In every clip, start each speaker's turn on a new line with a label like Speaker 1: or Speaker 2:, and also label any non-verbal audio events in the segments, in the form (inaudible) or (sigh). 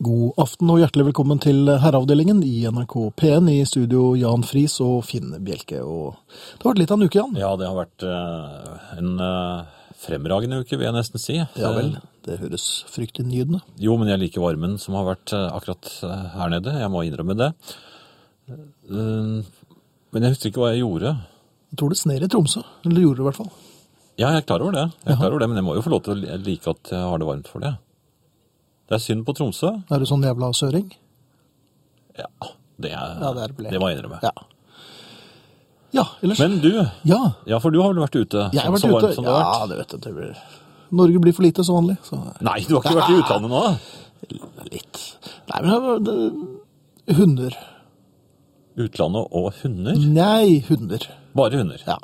Speaker 1: God aften og hjertelig velkommen til Herreavdelingen i NRK P1. I studio Jan Friis og Finn Bjelke. Og det har vært litt av en uke, Jan.
Speaker 2: Ja, det har vært eh, en eh, fremragende uke, vil jeg nesten si. Eh,
Speaker 1: Ja vel. Eh, Det høres fryktelig nydende.
Speaker 2: Jo, men jeg liker varmen som har vært eh, akkurat eh, her nede. Jeg må innrømme det. Eh, men jeg husker ikke hva jeg gjorde.
Speaker 1: Jeg tror det sner i Tromsø. Eller gjorde det i hvert fall.
Speaker 2: Ja, jeg er klar over det, jeg er klar over det men jeg må jo få lov til å like at jeg har det varmt for det. Det er synd på Tromsø.
Speaker 1: Er du sånn jævla søring?
Speaker 2: Ja, det, er,
Speaker 1: Ja, det er blekt.
Speaker 2: det må jeg innrømme.
Speaker 1: Ja. Ja, ellers
Speaker 2: Men du,
Speaker 1: Ja.
Speaker 2: ja, for du har vel vært ute?
Speaker 1: Jeg har
Speaker 2: så
Speaker 1: vært
Speaker 2: varmt
Speaker 1: ute.
Speaker 2: som det har vært?
Speaker 1: Ja, det vet du. Det blir... Norge blir for lite som vanlig. Så
Speaker 2: Nei, du har ikke vært i utlandet nå? da?
Speaker 1: litt Nei, men det- det- Hunder.
Speaker 2: Utlandet og hunder?
Speaker 1: Nei, hunder.
Speaker 2: Bare hunder?
Speaker 1: Ja.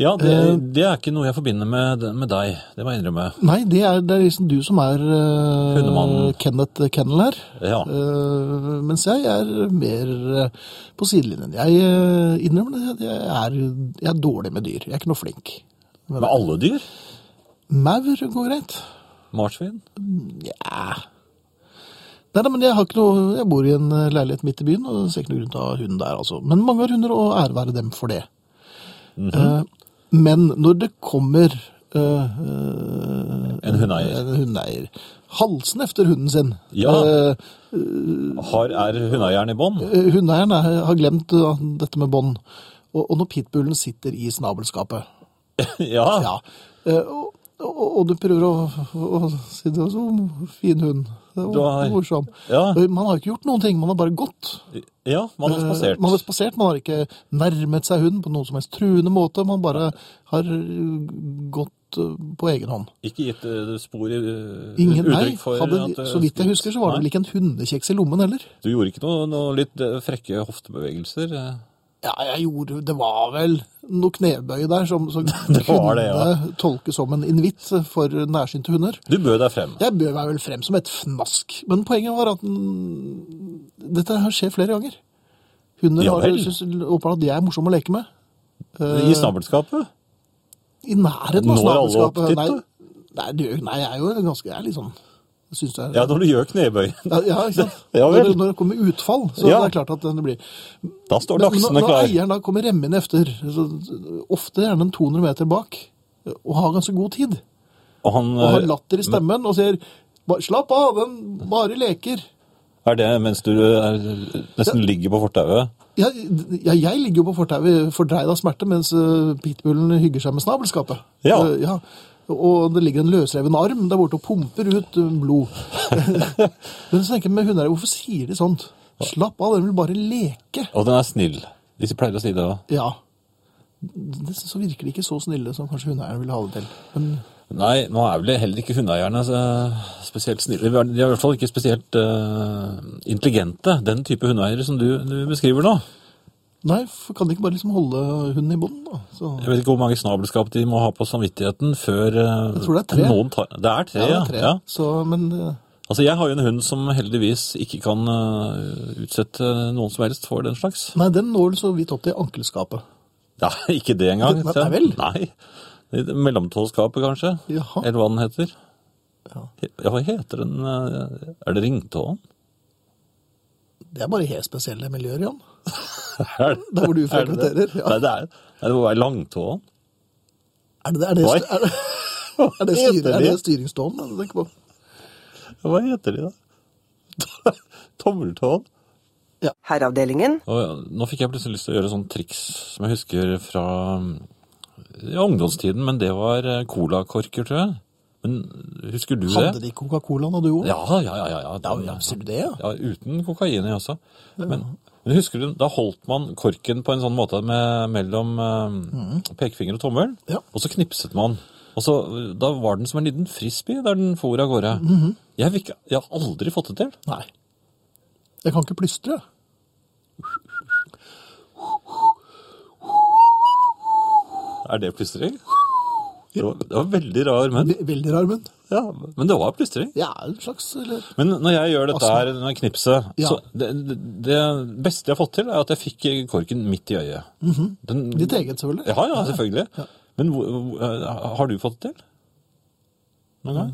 Speaker 2: Ja, det,
Speaker 1: Eh,
Speaker 2: det er ikke noe jeg forbinder med, med deg, det må jeg innrømme.
Speaker 1: Nei, det er, det er liksom du som er eh,
Speaker 2: Hundemannen.
Speaker 1: Kenneth Kennel her.
Speaker 2: Ja.
Speaker 1: Eh, mens jeg er mer eh, på sidelinjen. Jeg eh, innrømmer det, jeg er, jeg er dårlig med dyr. Jeg er ikke noe flink.
Speaker 2: Med alle dyr?
Speaker 1: Maur går greit.
Speaker 2: Marsvin?
Speaker 1: Nja Nei, nei, men jeg har ikke noe Jeg bor i en eh, leilighet midt i byen, og ser ikke noen grunn til å ha hund der, altså. Men mange har hunder, og ære være dem for det.
Speaker 2: Mhm.
Speaker 1: Eh, men når det kommer eh, eh,
Speaker 2: En hundeeier.
Speaker 1: en hundeeier. Halsen efter hunden sin.
Speaker 2: Ja.
Speaker 1: Eh,
Speaker 2: Har, er hundeeieren i bånd?
Speaker 1: eh, hundeeieren er- har glemt eh, dette med bånd. Og, og når pitbullen sitter i snabelskapet
Speaker 2: (laughs) ja.
Speaker 1: Ja. Eh, og, og, og du prøver å, å si det var så fin hund. Det
Speaker 2: Du
Speaker 1: var
Speaker 2: har-
Speaker 1: morsom.
Speaker 2: Ja.
Speaker 1: Eh, Man har ikke gjort noen ting, man har bare gått.
Speaker 2: ja, man har
Speaker 1: Eh, Man har
Speaker 2: spasert.
Speaker 1: spasert, man har ikke nærmet seg hunden på noen som helst truende måte. Man bare har eh, gått eh, på egen hånd.
Speaker 2: Ikke gitt eh, spor i eh,
Speaker 1: Ingen nei.
Speaker 2: uttrykk for
Speaker 1: Hadde,
Speaker 2: at, eh,
Speaker 1: så vidt jeg husker, så var det
Speaker 2: Nei.
Speaker 1: vel ikke en hundekjeks i lommen heller.
Speaker 2: Du gjorde ikke noe, noe litt eh, frekke hoftebevegelser? eh?
Speaker 1: Ja, jeg gjorde Det var vel noe knebøy der som, som
Speaker 2: var (laughs) det, ja.
Speaker 1: kunne tolkes som en invitt for nærsynte hunder.
Speaker 2: Du bød deg frem.
Speaker 1: Jeg bød meg vel frem som et fnask, men poenget var at mm, dette her skjer flere ganger. Hunder
Speaker 2: Ja
Speaker 1: har
Speaker 2: vel.
Speaker 1: synes åpenbart at de er morsomme å leke med. Eh,
Speaker 2: I snabelskapet?
Speaker 1: I nærheten av
Speaker 2: Når alle opp
Speaker 1: snabelskapet.
Speaker 2: dit,
Speaker 1: Nei,
Speaker 2: da?
Speaker 1: nei, det gjør- nei, jeg er jo ganske Jeg er litt sånn jeg synes det er,
Speaker 2: Ja, når du gjør knebøy.
Speaker 1: ja, ja, ikke sant?
Speaker 2: Ja vel.
Speaker 1: når, det- når det kommer utfall, så
Speaker 2: Ja.
Speaker 1: det er klart at det blir
Speaker 2: Da står
Speaker 1: Men Når,
Speaker 2: dagsene
Speaker 1: når
Speaker 2: klar.
Speaker 1: eieren da kommer remmen efter, så, ofte gjerne en 200 meter bak, og har ganske god tid,
Speaker 2: Og han,
Speaker 1: og har
Speaker 2: eh,
Speaker 1: latter i stemmen og sier "Ba- 'slapp av, den bare leker'.
Speaker 2: er det mens du eh, nesten ligger på fortauet?
Speaker 1: Ja, ja, jeg ligger jo på fortauet fordreid av smerte, mens eh, pitbullen hygger seg med snabelskapet.
Speaker 2: Ja.
Speaker 1: Eh, ja. Og det ligger en løsreven arm der borte og pumper ut eh, blod. Men så tenker jeg med hunder, hvorfor sier de sånt? Slapp av, den vil bare leke.
Speaker 2: Og den er snill. De pleier å si det òg.
Speaker 1: Ja. Det så virker de ikke så snille som kanskje hundeeieren ville ha det til. Men
Speaker 2: Nei, nå er vel heller ikke hundeeierne så spesielt snille. De er i hvert fall ikke spesielt eh, intelligente, den type hundeeiere som du, du beskriver nå.
Speaker 1: nei, for kan de ikke bare liksom holde hunden i bånd, da? Så,
Speaker 2: Jeg vet ikke hvor mange snabelskap de må ha på samvittigheten før eh,
Speaker 1: Jeg tror det er tre.
Speaker 2: Noen tar, det er tre,
Speaker 1: ja, det
Speaker 2: ja.
Speaker 1: er tre.
Speaker 2: ja.
Speaker 1: Så, men eh,
Speaker 2: Altså, jeg har jo en hund som heldigvis ikke kan eh, utsette noen som helst for den slags. (laughs)
Speaker 1: Nei, den når så vidt opp til ankelskapet.
Speaker 2: Nei, ikke det engang.
Speaker 1: Nei,
Speaker 2: se.
Speaker 1: nei vel.
Speaker 2: Nei. Det er Mellomtåskapet, kanskje?
Speaker 1: Jaha.
Speaker 2: Eller hva den heter.
Speaker 1: Ja.
Speaker 2: Ja, hva heter den? eh, Er det ringtåen?
Speaker 1: Det er bare helt spesielle miljøer, Jan.
Speaker 2: Er det-
Speaker 1: Der hvor du
Speaker 2: er det det?
Speaker 1: frekventerer, ja.
Speaker 2: Nei, det er, nei, det må være langtåen.
Speaker 1: Er det, er det,
Speaker 2: Oi.
Speaker 1: er det, (laughs) er det,
Speaker 2: Heter
Speaker 1: styr, er
Speaker 2: de?
Speaker 1: det styringståen du tenker på?
Speaker 2: Hva heter de, da? (laughs) Tommeltåen?
Speaker 3: Herreavdelingen.
Speaker 2: Og ja, nå fikk jeg plutselig lyst til å gjøre sånn triks som jeg husker fra mm, ja, ungdomstiden, men det var eh, colakorker, tror jeg. Men husker du
Speaker 1: Hadde
Speaker 2: det?
Speaker 1: de Coca-Cola da du òg?
Speaker 2: Ja, ja, ja. ja, ja.
Speaker 1: Ja, ja, sier du det, ja?
Speaker 2: Ja, uten kokain i også. Men, men husker du, da holdt man korken på en sånn måte med, mellom eh, pekefinger og tommel,
Speaker 1: Ja.
Speaker 2: og så knipset man. Og så, eh, Da var den som en liten frisbee der den for av gårde.
Speaker 1: Mhm.
Speaker 2: jeg, fikk, jeg har aldri fått det til.
Speaker 1: Nei. Jeg kan ikke plystre.
Speaker 2: Er det plystring? Det var, det var veldig rar, men,
Speaker 1: Ve- Veldig rar munn.
Speaker 2: ja, men det var plystring.
Speaker 1: Ja, en slags eller...
Speaker 2: Men når jeg gjør dette her, denne knipset,
Speaker 1: Ja.
Speaker 2: så det, det- det beste jeg har fått til, er at jeg fikk korken midt i øyet.
Speaker 1: Mhm.
Speaker 2: Den,
Speaker 1: Ditt eget, selvfølgelig.
Speaker 2: Ja, ja, selvfølgelig. Men hvor- hvor- har du fått det til? Noen gang?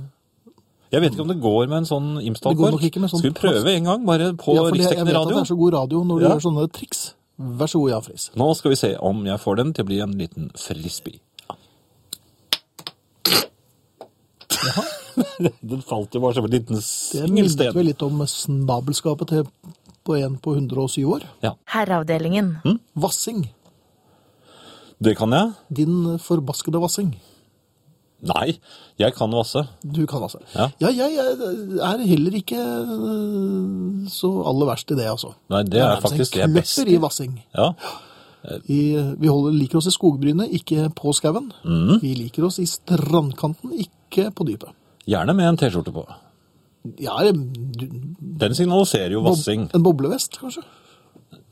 Speaker 2: Jeg vet ikke om det går med en sånn
Speaker 1: Det går nok
Speaker 2: Imsdal-kork.
Speaker 1: ikke med sånn
Speaker 2: Skal vi prøve en gang, bare på
Speaker 1: ja, for det, jeg
Speaker 2: riksdekkende
Speaker 1: vet at det
Speaker 2: radio?
Speaker 1: er så god radio når du
Speaker 2: Ja.
Speaker 1: gjør sånne triks. Vær så god, Jan Friis.
Speaker 2: Nå skal vi se om jeg får den til å bli en liten frisbee. (laughs) den falt jo bare som en liten
Speaker 1: Det minnet
Speaker 2: singelsten.
Speaker 1: vel litt om snabelskapet til på en på 107 år.
Speaker 4: Herreavdelingen.
Speaker 1: Vassing.
Speaker 2: Det kan jeg.
Speaker 1: Din forbaskede vassing.
Speaker 2: Nei, jeg kan vasse.
Speaker 1: Du kan altså.
Speaker 2: Ja.
Speaker 1: ja, jeg er heller ikke øh, så aller verst i det, altså.
Speaker 2: Nei, det er
Speaker 1: Jeg nærmest en
Speaker 2: faktisk det jeg er best
Speaker 1: kløpper i vassing.
Speaker 2: Ja.
Speaker 1: I, vi holder, liker oss i skogbrynet, ikke på skauen.
Speaker 2: Mhm.
Speaker 1: Vi liker oss i strandkanten, ikke på dypet.
Speaker 2: Gjerne med en T-skjorte på.
Speaker 1: Ja, du,
Speaker 2: Den signaliserer jo vassing.
Speaker 1: En boblevest, kanskje?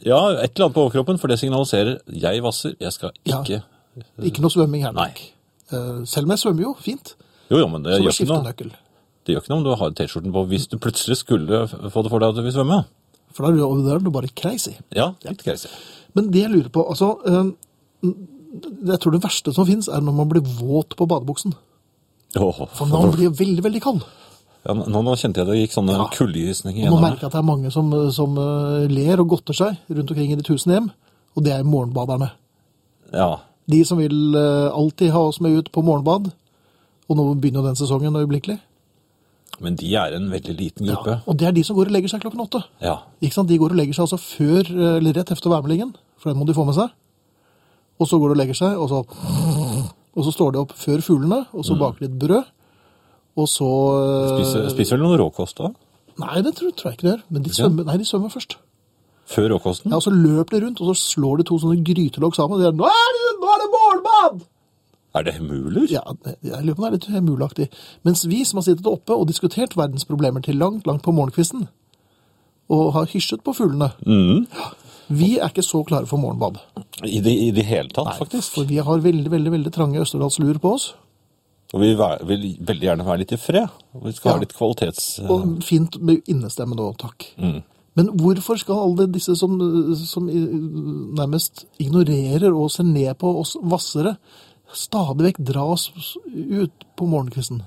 Speaker 2: Ja, et eller annet på overkroppen, for det signaliserer 'jeg vasser, jeg skal
Speaker 1: Ja.
Speaker 2: ikke'.
Speaker 1: Ikke noe svømming her.
Speaker 2: Nei.
Speaker 1: Eh, Selv om jeg svømmer jo fint,
Speaker 2: Jo, jo, men det
Speaker 1: så
Speaker 2: gjør
Speaker 1: må jeg
Speaker 2: ikke
Speaker 1: skifte
Speaker 2: noe.
Speaker 1: nøkkel.
Speaker 2: Det gjør ikke noe om du har T-skjorten på hvis du plutselig skulle f- få det for deg at du vil svømme.
Speaker 1: For da er du- da er du bare crazy.
Speaker 2: Ja, litt crazy.
Speaker 1: Men det jeg lurer på altså, eh, Jeg tror det verste som fins, er når man blir våt på badebuksen.
Speaker 2: Åh,
Speaker 1: For når man blir veldig, veldig kald.
Speaker 2: ja, nå, nå kjente jeg det gikk sånne
Speaker 1: Ja. Og nå
Speaker 2: kuldegysninger gjennom
Speaker 1: merker
Speaker 2: meg.
Speaker 1: jeg at det er mange som, som eh, ler og godter seg rundt omkring i de tusen hjem. Og det er morgenbaderne.
Speaker 2: Ja.
Speaker 1: De som vil eh, alltid ha oss med ut på morgenbad. Og nå begynner jo den sesongen øyeblikkelig.
Speaker 2: Men de er en veldig liten gruppe.
Speaker 1: Og det er de som går og legger seg klokken åtte.
Speaker 2: Ja.
Speaker 1: Ikke sant? De går og legger seg altså før, eller rett efter værmeldingen, for den må de få med seg. Og så går de og legger seg, og så, og så står de opp før fuglene, og så baker de et brød. Og så eh,
Speaker 2: Spiser, spiser vel noe råkost da?
Speaker 1: Nei, det tror, tror jeg ikke de gjør. Men de svømmer, nei, de svømmer først.
Speaker 2: Før råkosten?
Speaker 1: Ja, og så løper de rundt, og så slår de to sånne grytelokk sammen. Og de er, nå er det, nå er det morgenbad!
Speaker 2: Er det muler?
Speaker 1: Ja, jeg lurer på om det er litt mulaktig. Mens vi som har sittet oppe og diskutert verdensproblemer til langt, langt på morgenkvisten, og har hysjet på fuglene,
Speaker 2: Mm.
Speaker 1: vi er ikke så klare for morgenbad.
Speaker 2: I, det, I det hele tatt, faktisk.
Speaker 1: For vi har veldig, veldig, veldig trange Østerdalsluer på oss,
Speaker 2: Og vi væ- vil veldig gjerne være litt i fred. Og Vi skal
Speaker 1: Ja.
Speaker 2: ha litt kvalitets...
Speaker 1: og fint med innestemme nå, takk.
Speaker 2: Mm.
Speaker 1: Men hvorfor skal alle disse som, som i- nærmest ignorerer og ser ned på oss vassere, stadig vekk dra oss ut på morgenkvisten?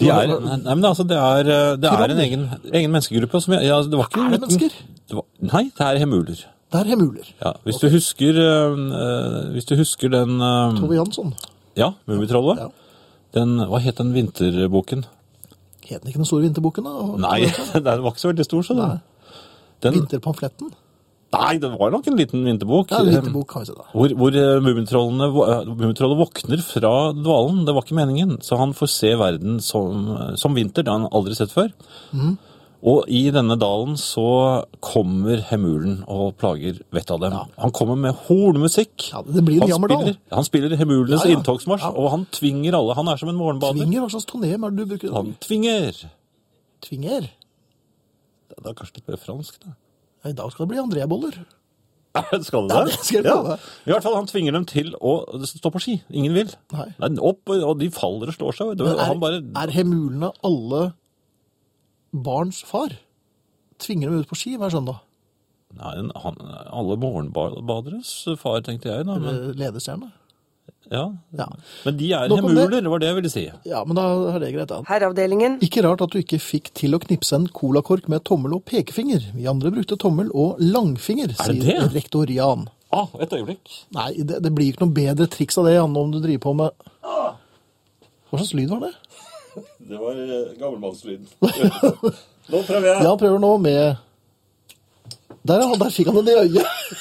Speaker 2: De er, nei, men altså, det er, eh, det er en egen, egen menneskegruppe som jeg, ja, altså, det var ikke
Speaker 1: Er det mennesker?
Speaker 2: Det var, nei, det er hemuler.
Speaker 1: Det er hemuler.
Speaker 2: Ja, hvis, du husker, eh, eh, hvis du husker den eh,
Speaker 1: Tove Jansson.
Speaker 2: Ja, Mummitrollet.
Speaker 1: Ja.
Speaker 2: Den, hva het den vinterboken?
Speaker 1: Het den ikke Den store vinterbukken, da?
Speaker 2: Nei, (laughs) den var ikke så veldig stor, så den. Den,
Speaker 1: Vinterpamfletten?
Speaker 2: nei, det var nok en liten vinterbok.
Speaker 1: Ja, en vinterbok kan vi si da.
Speaker 2: Hvor, hvor eh, Mummitrollene eh, Mummitrollet våkner fra dvalen. Det var ikke meningen. Så han får se verden som, som vinter. Det har han aldri sett før. Og i denne dalen så kommer Hemulen og plager vettet av dem. Han kommer med hornmusikk.
Speaker 1: Ja, det blir en
Speaker 2: han,
Speaker 1: jammerdal.
Speaker 2: spiller, han spiller Hemulenes
Speaker 1: Ja, ja.
Speaker 2: inntogsmarsj,
Speaker 1: Ja.
Speaker 2: og han tvinger alle. Han er som en morgenbader.
Speaker 1: Tvinger? Hva slags tonem er det du bruker?
Speaker 2: Han tvinger.
Speaker 1: Tvinger?
Speaker 2: Det er kanskje litt mer fransk, da.
Speaker 1: Nei, da skal det bli andreaboller.
Speaker 2: (laughs) Skal du
Speaker 1: Ja,
Speaker 2: det?
Speaker 1: det skal jeg love.
Speaker 2: I hvert fall, han tvinger dem til å stå på ski. Ingen vil.
Speaker 1: Nei.
Speaker 2: opp, og de faller og slår seg. og
Speaker 1: Men
Speaker 2: han
Speaker 1: er,
Speaker 2: bare...
Speaker 1: er hemulene alle barns far? Tvinger dem ut på ski sånn hver søndag?
Speaker 2: Nei, han, alle morgenbaderes far, tenkte jeg da. Men,
Speaker 1: Eh, Ledestjerne?
Speaker 2: ja.
Speaker 1: Ja.
Speaker 2: men de er
Speaker 1: Nok om
Speaker 2: hemuler, det var det jeg ville si.
Speaker 1: ja, men da er det greit, da.
Speaker 3: Herreavdelingen.
Speaker 1: Ikke rart at du ikke fikk til å knipse en colakork med tommel og pekefinger. Vi andre brukte tommel og langfinger,
Speaker 2: det
Speaker 1: sier
Speaker 2: det?
Speaker 1: rektor Jan.
Speaker 2: Ah, et øyeblikk.
Speaker 1: Nei, det, det blir ikke noe bedre triks av det, Janne, om du driver på med Hva slags lyd var det?
Speaker 2: Det var eh,
Speaker 1: (laughs)
Speaker 2: gammelmannslyden. Nå prøver jeg.
Speaker 1: Ja, han prøver nå med Der, er han, der fikk han den i øyet!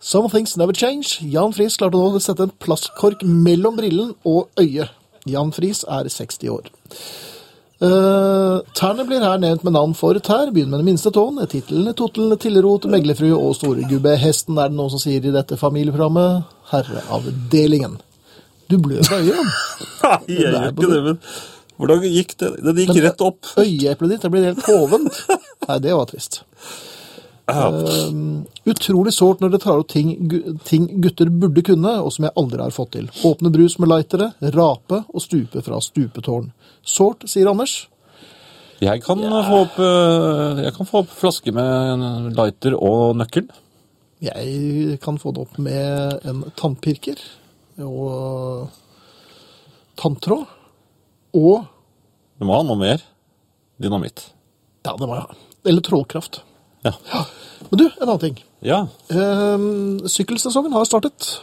Speaker 1: Some things never change. Jan Friis klarte nå å sette en plastkork mellom brillen og øyet. Jan Friis er 60 år. Eh, tærne blir her nevnt med navn for tær. Begynn med den minste tåen. Titlene, totlene, tillerot, meglerfrue og storegubbe. Hesten er det noen som sier i dette familieprogrammet. Herreavdelingen. Du blør fra øyet.
Speaker 2: Nei, Ah, jeg gjør ikke det, men hvordan gikk det? Den gikk rett opp.
Speaker 1: Øyeeplet ditt det blir helt hovent. Nei, det var trist. Um, utrolig sårt når det tar opp ting, gu- ting gutter burde kunne, og som jeg aldri har fått til. Åpne brus med lightere, rape og stupe fra stupetårn. Sårt, sier Anders.
Speaker 2: Jeg kan, få opp, eh, jeg kan få opp flaske med en lighter og nøkkel.
Speaker 1: Jeg kan få det opp med en tannpirker. og tanntråd. Og
Speaker 2: Du må ha noe mer dynamitt.
Speaker 1: ja, det må jeg ha. Eller trålkraft.
Speaker 2: Ja.
Speaker 1: Men du, en annen ting.
Speaker 2: ja.
Speaker 1: Ehm, sykkelsesongen har startet.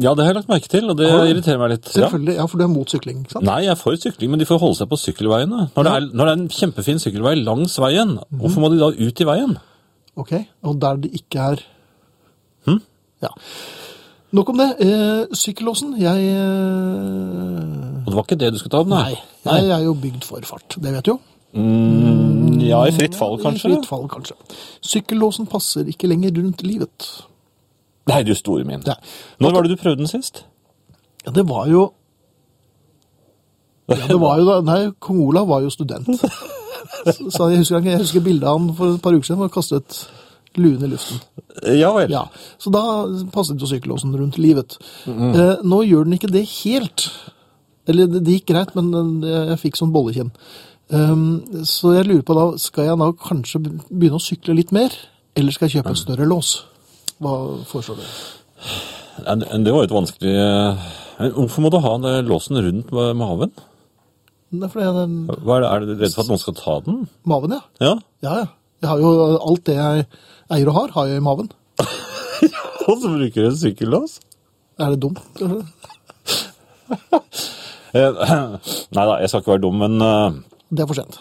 Speaker 2: Ja, det har jeg lagt merke til, og det
Speaker 1: Har du?
Speaker 2: irriterer meg litt. Ja.
Speaker 1: Selvfølgelig, ja, for du er mot sykling, ikke sant?
Speaker 2: Nei, jeg er for sykling, men de får holde seg på sykkelveiene. Når det er, når det er en kjempefin sykkelvei langs veien, hvorfor må de da ut i veien?
Speaker 1: Ok, og der det ikke er Hm? Ja. Nok om det. Eh, sykkellåsen, jeg eh,
Speaker 2: Og det var ikke det du skulle ta opp, nei?
Speaker 1: Nei. Jeg er jo bygd for fart, det vet du jo.
Speaker 2: Mm, ja, i fritt fall,
Speaker 1: I
Speaker 2: kanskje?
Speaker 1: fritt fall, kanskje. Sykkellåsen passer ikke lenger rundt livet.
Speaker 2: Nei, du store min.
Speaker 1: Ja.
Speaker 2: Når var det du prøvde den sist?
Speaker 1: Ja, det var jo ja, det var jo da, Nei, kong Olav var jo (laughs) student. Så, så jeg husker, jeg husker bildet av han for et par uker siden. Han kastet luen i luften.
Speaker 2: Ja vel.
Speaker 1: Ja, Så da passet jo sykkellåsen rundt livet.
Speaker 2: Mm-hmm.
Speaker 1: Eh, nå gjør den ikke det helt. Eller det, det gikk greit, men eh, jeg fikk sånn bollekinn. Ehm, så jeg lurer på da, skal jeg da kanskje begynne å sykle litt mer? Eller skal jeg kjøpe en større lås? Hva foreslår du?
Speaker 2: Nei, Det det var jo et vanskelig Men Hvorfor må du ha den låsen rundt ma- maven?
Speaker 1: Det er fordi jeg den
Speaker 2: Hva er, det, er du redd for at noen skal ta den?
Speaker 1: maven, ja.
Speaker 2: Ja.
Speaker 1: Ja, ja. Jeg har jo alt det jeg eier og har, har jeg i maven.
Speaker 2: Og så bruker du en sykkellås?
Speaker 1: Er det dumt? kanskje?
Speaker 2: Eh, (clears throat) Nei da, jeg skal ikke være dum, men eh,
Speaker 1: Det er for sent.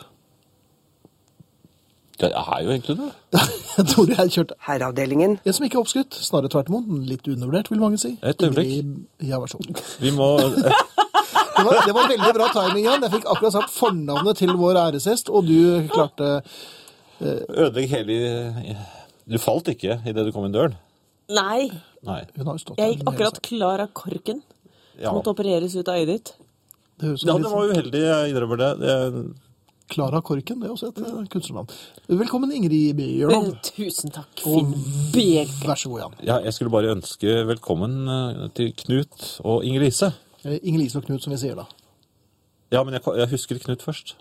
Speaker 1: (laughs)
Speaker 2: jeg er jo egentlig det.
Speaker 1: Jeg tror jeg kjørte
Speaker 3: Herreavdelingen.
Speaker 1: en som ikke er oppskrytt. Snarere tvert imot. Litt undervurdert, vil mange si.
Speaker 2: Et øyeblikk.
Speaker 1: Ingrid- Ja, vær så god.
Speaker 2: Vi må eh,
Speaker 1: Det var, det var veldig bra timing, Jan. Jeg fikk akkurat sagt fornavnet til vår æreshest, og du klarte
Speaker 2: ødelegge hele Du falt ikke idet du kom inn døren?
Speaker 4: Nei,
Speaker 2: Nei.
Speaker 1: Hun har jo stått
Speaker 4: jeg
Speaker 1: her
Speaker 4: gikk
Speaker 1: en hel
Speaker 4: akkurat
Speaker 1: sak.
Speaker 4: klar av korken.
Speaker 2: Ja.
Speaker 4: Måtte opereres ut av øyet ditt.
Speaker 1: Det høres ut som
Speaker 2: Ja, det
Speaker 1: litt sånn
Speaker 2: var uheldig, jeg innrømmer det. det.
Speaker 1: Klara Korken. Det er også et eh, kunstnernavn. Velkommen, Ingrid Bjørnov.
Speaker 4: Tusen takk, Finn Bjelke.
Speaker 1: Vær så god, Jan.
Speaker 2: Ja, jeg skulle bare ønske velkommen eh, til Knut og Inger Lise.
Speaker 1: Eh, Inger-Lise og Knut, som vi sier da.
Speaker 2: Ja, men jeg, jeg husket Knut først.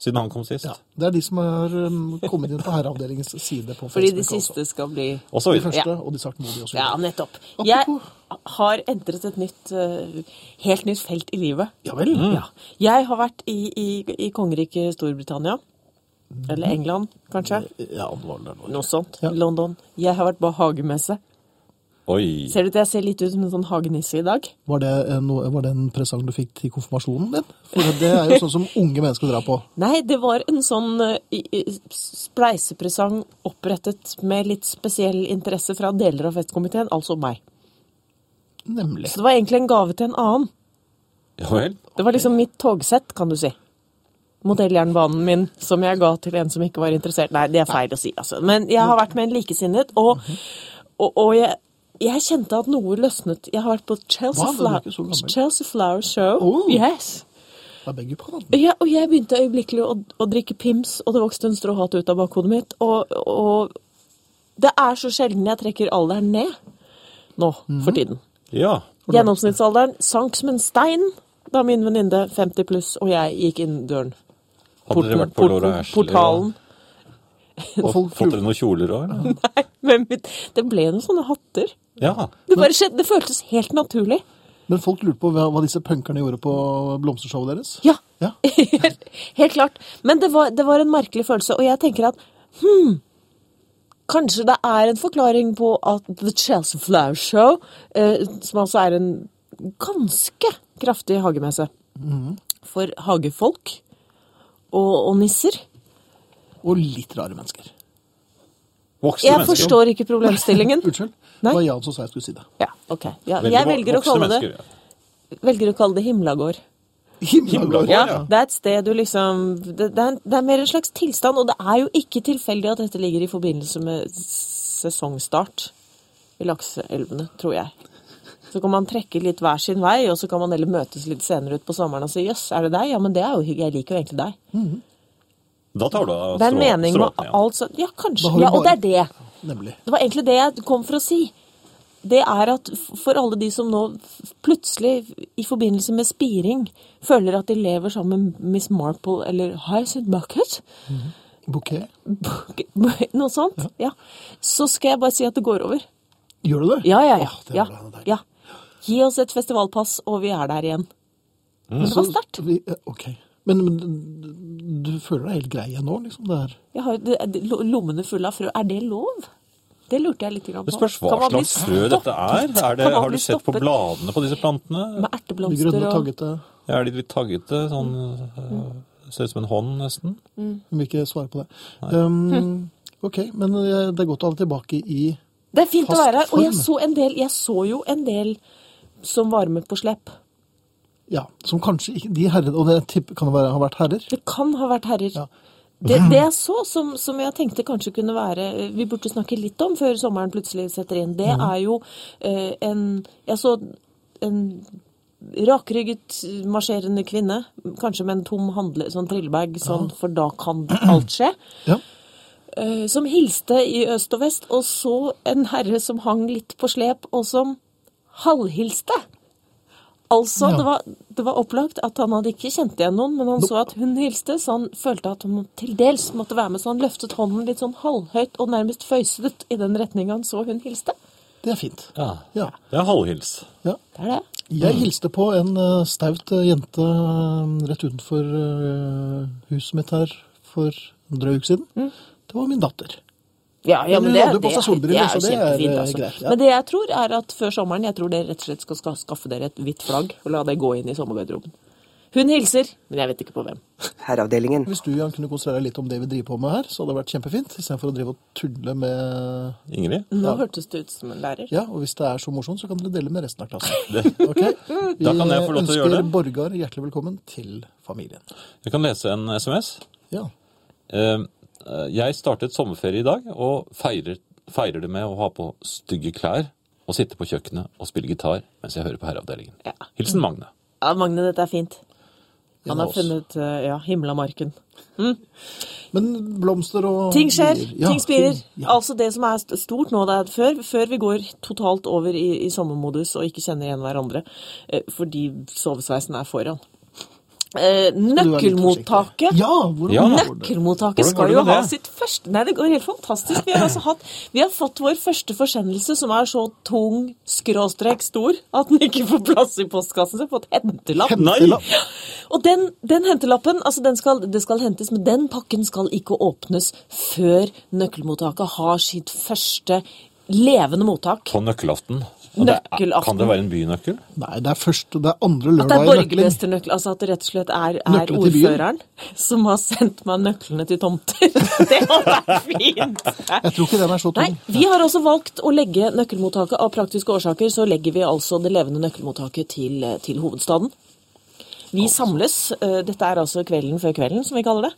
Speaker 2: Siden han kom sist.
Speaker 1: Ja, det er de som har um, kommet inn på herreavdelingens side på Facebook.
Speaker 4: Fordi de
Speaker 1: også.
Speaker 4: siste skal bli
Speaker 2: Og så
Speaker 1: De
Speaker 2: videre.
Speaker 1: første, og de saktmodige også.
Speaker 4: Ja, nettopp.
Speaker 1: Apropos-
Speaker 4: Jeg har entret et nytt, eh, helt nytt felt i livet.
Speaker 1: Ja vel?
Speaker 2: Mm.
Speaker 4: Ja. Jeg har vært i, i, i kongeriket Storbritannia. Eller England, kanskje.
Speaker 1: Ja, det var vel der nå.
Speaker 4: Noe sånt.
Speaker 1: Ja.
Speaker 4: London. Jeg har vært på hagemesse.
Speaker 2: Oi.
Speaker 4: Ser du at jeg ser litt ut som en sånn hagenisse i dag?
Speaker 1: Var det, en, var det en presang du fikk til konfirmasjonen din? For det er jo sånn som unge mennesker drar på.
Speaker 4: Nei, det var en sånn eh, i- i- spleisepresang opprettet med litt spesiell interesse fra deler av festkomiteen, altså meg.
Speaker 1: Nemlig.
Speaker 4: Så det var egentlig en gave til en annen.
Speaker 2: Ja vel.
Speaker 4: Det var liksom mitt togsett, kan du si. Modelljernbanen min som jeg ga til en som ikke var interessert. Nei, det er feil å si, altså. Men jeg har vært med en likesinnet, og, og, og jeg, jeg kjente at noe løsnet. Jeg har vært på Chelsea,
Speaker 1: Wow, du er
Speaker 4: Flower,
Speaker 1: ikke så gammel.
Speaker 4: Chelsea Flower Show.
Speaker 1: Oh.
Speaker 4: Yes.
Speaker 1: Jeg begge på den.
Speaker 4: Ja, og jeg begynte øyeblikkelig å, å drikke pims, og det vokste en stråhatt ut av bakhodet mitt. Og, og det er så sjelden jeg trekker alderen ned nå
Speaker 2: Mhm.
Speaker 4: for tiden.
Speaker 2: Ja.
Speaker 4: Gjennomsnittsalderen sank som en stein da min venninne 50 pluss og jeg gikk inn døren.
Speaker 2: Hadde dere vært på
Speaker 4: porten-
Speaker 2: Laura Ashley?
Speaker 4: portalen. (laughs)
Speaker 1: Og
Speaker 2: Og,
Speaker 1: folk
Speaker 2: og fått dere noen kjoler òg?
Speaker 4: Nei, men mitt- det ble noen sånne hatter.
Speaker 2: Ja.
Speaker 4: Det bare skjedde, det føltes helt naturlig.
Speaker 1: Men folk lurte på hva, hva disse punkerne gjorde på blomstershowet deres.
Speaker 4: Ja,
Speaker 1: Ja.
Speaker 4: helt klart. Men det var, det var en merkelig følelse, og jeg tenker at hmm, kanskje det er en forklaring på at The Chelsea Flower Show, eh, som altså er en ganske kraftig hagemesse for hagefolk og, og nisser
Speaker 1: Og litt rare mennesker.
Speaker 2: Voksne
Speaker 4: Jeg
Speaker 2: mennesker.
Speaker 4: forstår ikke
Speaker 2: (laughs)
Speaker 4: problemstillingen.
Speaker 1: (laughs) Unnskyld. Det
Speaker 4: Nei.
Speaker 1: var Jan som sa jeg skulle si det.
Speaker 4: Ja, ok. Ja,
Speaker 2: Veldig
Speaker 4: jeg
Speaker 2: vo-
Speaker 4: velger å,
Speaker 2: voksne
Speaker 4: kalle det,
Speaker 2: mennesker, ja.
Speaker 4: velger å kalle det Himlagård.
Speaker 1: Himmelblå.
Speaker 2: Ja,
Speaker 4: Ja,
Speaker 2: ja.
Speaker 4: Det er et sted du liksom det, det, er, det er mer en slags tilstand, og det er jo ikke tilfeldig at dette ligger i forbindelse med sesongstart i lakseelvene, tror jeg. Så kan man trekke litt hver sin vei, og så kan man heller møtes litt senere ut på sommeren og si 'jøss, er det deg?' Ja, men det er jo hyggelig. Jeg liker jo egentlig deg.
Speaker 2: Da tar du av
Speaker 4: Det er en mening med
Speaker 2: stråten igjen.
Speaker 4: alt sånt. Ja, kanskje.
Speaker 1: Da har du
Speaker 4: Ja, og
Speaker 1: bare-
Speaker 4: det er det.
Speaker 1: Nemlig.
Speaker 4: Det var egentlig det jeg kom for å si. Det er at f- for alle de som nå f- plutselig, i forbindelse med spiring, føler at de lever sammen med Miss Marple eller Hyacinth Bucket,
Speaker 1: Bouquet.
Speaker 4: Bucket- (laughs) noe sånt, ja. så skal jeg bare si at det går over.
Speaker 1: Gjør du det?
Speaker 4: Ja, ja, ja.
Speaker 1: Åh, det
Speaker 4: ja,
Speaker 1: var da deilig.
Speaker 4: ja. Gi oss et festivalpass, og vi er der igjen.
Speaker 2: Mm.
Speaker 4: Men det var
Speaker 1: Så-
Speaker 4: sterkt.
Speaker 1: vi- eh, Ok. Men, men du føler deg helt grei igjen nå, liksom? Det er
Speaker 4: Jeg har jo det- det- lo- lommene fulle av frø. Er det lov? Det lurte jeg litt grann på.
Speaker 2: Det spørs hva
Speaker 4: Kan man bli
Speaker 2: slags frø dette er. er det,
Speaker 4: Kan man
Speaker 2: har
Speaker 4: bli
Speaker 2: du sett på
Speaker 4: stoppet?
Speaker 2: bladene på disse plantene?
Speaker 4: Med
Speaker 1: de
Speaker 4: erteblomster
Speaker 1: grønne,
Speaker 4: og
Speaker 1: taggete
Speaker 2: Er de litt taggete? Sånn,
Speaker 4: Mm.
Speaker 2: øh, ser ut som en hånd, nesten.
Speaker 1: Hun vil ikke svare på det.
Speaker 4: Hm.
Speaker 1: Um, ok, men eh, det er godt å ha det tilbake i
Speaker 4: Det er fint å
Speaker 1: Fast
Speaker 4: være her. Og jeg
Speaker 1: form.
Speaker 4: så, en del, jeg så jo en del som var med på slepp.
Speaker 1: Ja, som kanskje ikke De herrene Og det tipper- kan det være, har vært herrer?
Speaker 4: Det kan ha vært herrer.
Speaker 1: Ja. Mm.
Speaker 4: Det, det jeg så, som, som jeg tenkte kanskje kunne være eh, Vi burde snakke litt om før sommeren plutselig setter inn, det
Speaker 1: Mm.
Speaker 4: er jo eh, en Jeg så en rakrygget, marsjerende kvinne, kanskje med en tom handle, sånn trillebag, sånn, for da kan alt skje,
Speaker 1: Ja.
Speaker 4: eh, som hilste i øst og vest, og så en herre som hang litt på slep, og som halvhilste. Altså,
Speaker 1: Ja.
Speaker 4: det, var, det var opplagt at han hadde ikke kjent igjen noen, men han så at hun hilste, så han følte at hun til dels måtte være med, så han løftet hånden litt sånn halvhøyt og nærmest føyset i den retningen han så hun hilste.
Speaker 1: Det er fint.
Speaker 2: Ja.
Speaker 1: Ja.
Speaker 2: Det er halvhils.
Speaker 1: ja.
Speaker 4: Det er det.
Speaker 1: Jeg
Speaker 2: Mm.
Speaker 1: hilste på en eh, staut eh, jente eh, rett utenfor eh, huset mitt her for en drøy uke siden.
Speaker 2: Mm.
Speaker 1: Det var min datter.
Speaker 4: Ja, ja,
Speaker 1: Men
Speaker 4: men
Speaker 1: hun
Speaker 4: det,
Speaker 1: hadde jo på
Speaker 4: det,
Speaker 1: seg solbriller,
Speaker 4: det er
Speaker 1: så
Speaker 4: jo
Speaker 1: det er,
Speaker 4: kjempefint.
Speaker 1: eh,
Speaker 4: Altså.
Speaker 1: greit, ja.
Speaker 4: Men det jeg tror er at før sommeren, jeg tror dere rett og slett skal ska- skaffe dere et hvitt flagg og la det gå inn i sommergarderoben. Hun hilser, men jeg vet ikke på hvem.
Speaker 3: Herreavdelingen.
Speaker 1: Hvis du Jan, kunne konsentrere deg litt om det vi driver på med her, så hadde det vært kjempefint. Istedenfor å drive og tulle med
Speaker 2: Ingrid?
Speaker 4: Nå hørtes det ut som en lærer.
Speaker 1: Ja, og hvis det er så morsomt, så kan dere dele med resten av klassen.
Speaker 2: Det.
Speaker 1: (laughs) Ok? Vi
Speaker 2: (laughs) Da kan jeg få lov til å gjøre det.
Speaker 1: ønsker Borgar hjertelig velkommen til familien.
Speaker 2: Jeg kan lese en SMS.
Speaker 1: Ja.
Speaker 2: Eh, eh, Jeg startet sommerferie i dag og feirer, feirer det med å ha på stygge klær og sitte på kjøkkenet og spille gitar mens jeg hører på Herreavdelingen.
Speaker 4: Ja.
Speaker 2: Hilsen Magne.
Speaker 4: Ja, Magne, dette er fint.
Speaker 1: Ja,
Speaker 4: Han har
Speaker 1: oss.
Speaker 4: funnet eh, ja, himlamarken.
Speaker 1: Men blomster og
Speaker 4: Ting skjer,
Speaker 1: bier. Ja,
Speaker 4: ting spirer.
Speaker 1: ting- Ja.
Speaker 4: Altså det som er st- stort nå, det er at før, før vi går totalt over i, i sommermodus og ikke kjenner igjen hverandre, eh, fordi sovesveisen er foran. Eh,
Speaker 1: Du er litt forsiktig.
Speaker 4: nøkkelmottaket
Speaker 1: Ja, hvordan
Speaker 2: Ja,
Speaker 1: går det?
Speaker 2: Hvordan
Speaker 4: Nøkkelmottaket
Speaker 2: går
Speaker 4: skal
Speaker 2: det
Speaker 4: jo
Speaker 2: med
Speaker 4: ha
Speaker 2: det?
Speaker 4: sitt første Nei, det går helt fantastisk. Vi har, altså hatt, vi har fått vår første forsendelse som er så tung, skråstrek stor, at den ikke får plass i postkassen. Så vi har fått hentelapp.
Speaker 2: Nei!
Speaker 4: Og den, den hentelappen, altså den skal, det skal hentes, men den pakken skal ikke åpnes før nøkkelmottaket har sitt første levende mottak.
Speaker 2: På nøkkelaften. Og det er-
Speaker 4: Nøkkelaften.
Speaker 2: Kan det være en bynøkkel?
Speaker 1: Nei, det er første, det er andre
Speaker 4: At det
Speaker 1: lørdag
Speaker 4: er
Speaker 1: i nøkkelen.
Speaker 4: borgermesternøkkel, altså at det rett og slett er, er
Speaker 1: Nøkkelen til byen.
Speaker 4: ordføreren som har sendt meg nøklene til tomter. (laughs) Det hadde vært fint!
Speaker 1: Jeg tror ikke den er så
Speaker 4: Nei,
Speaker 1: tung.
Speaker 4: vi har også valgt å legge nøkkelmottaket av praktiske årsaker, så legger vi altså det levende nøkkelmottaket til, eh, til hovedstaden. Vi samles. eh, Dette er altså kvelden før kvelden, som vi kaller det.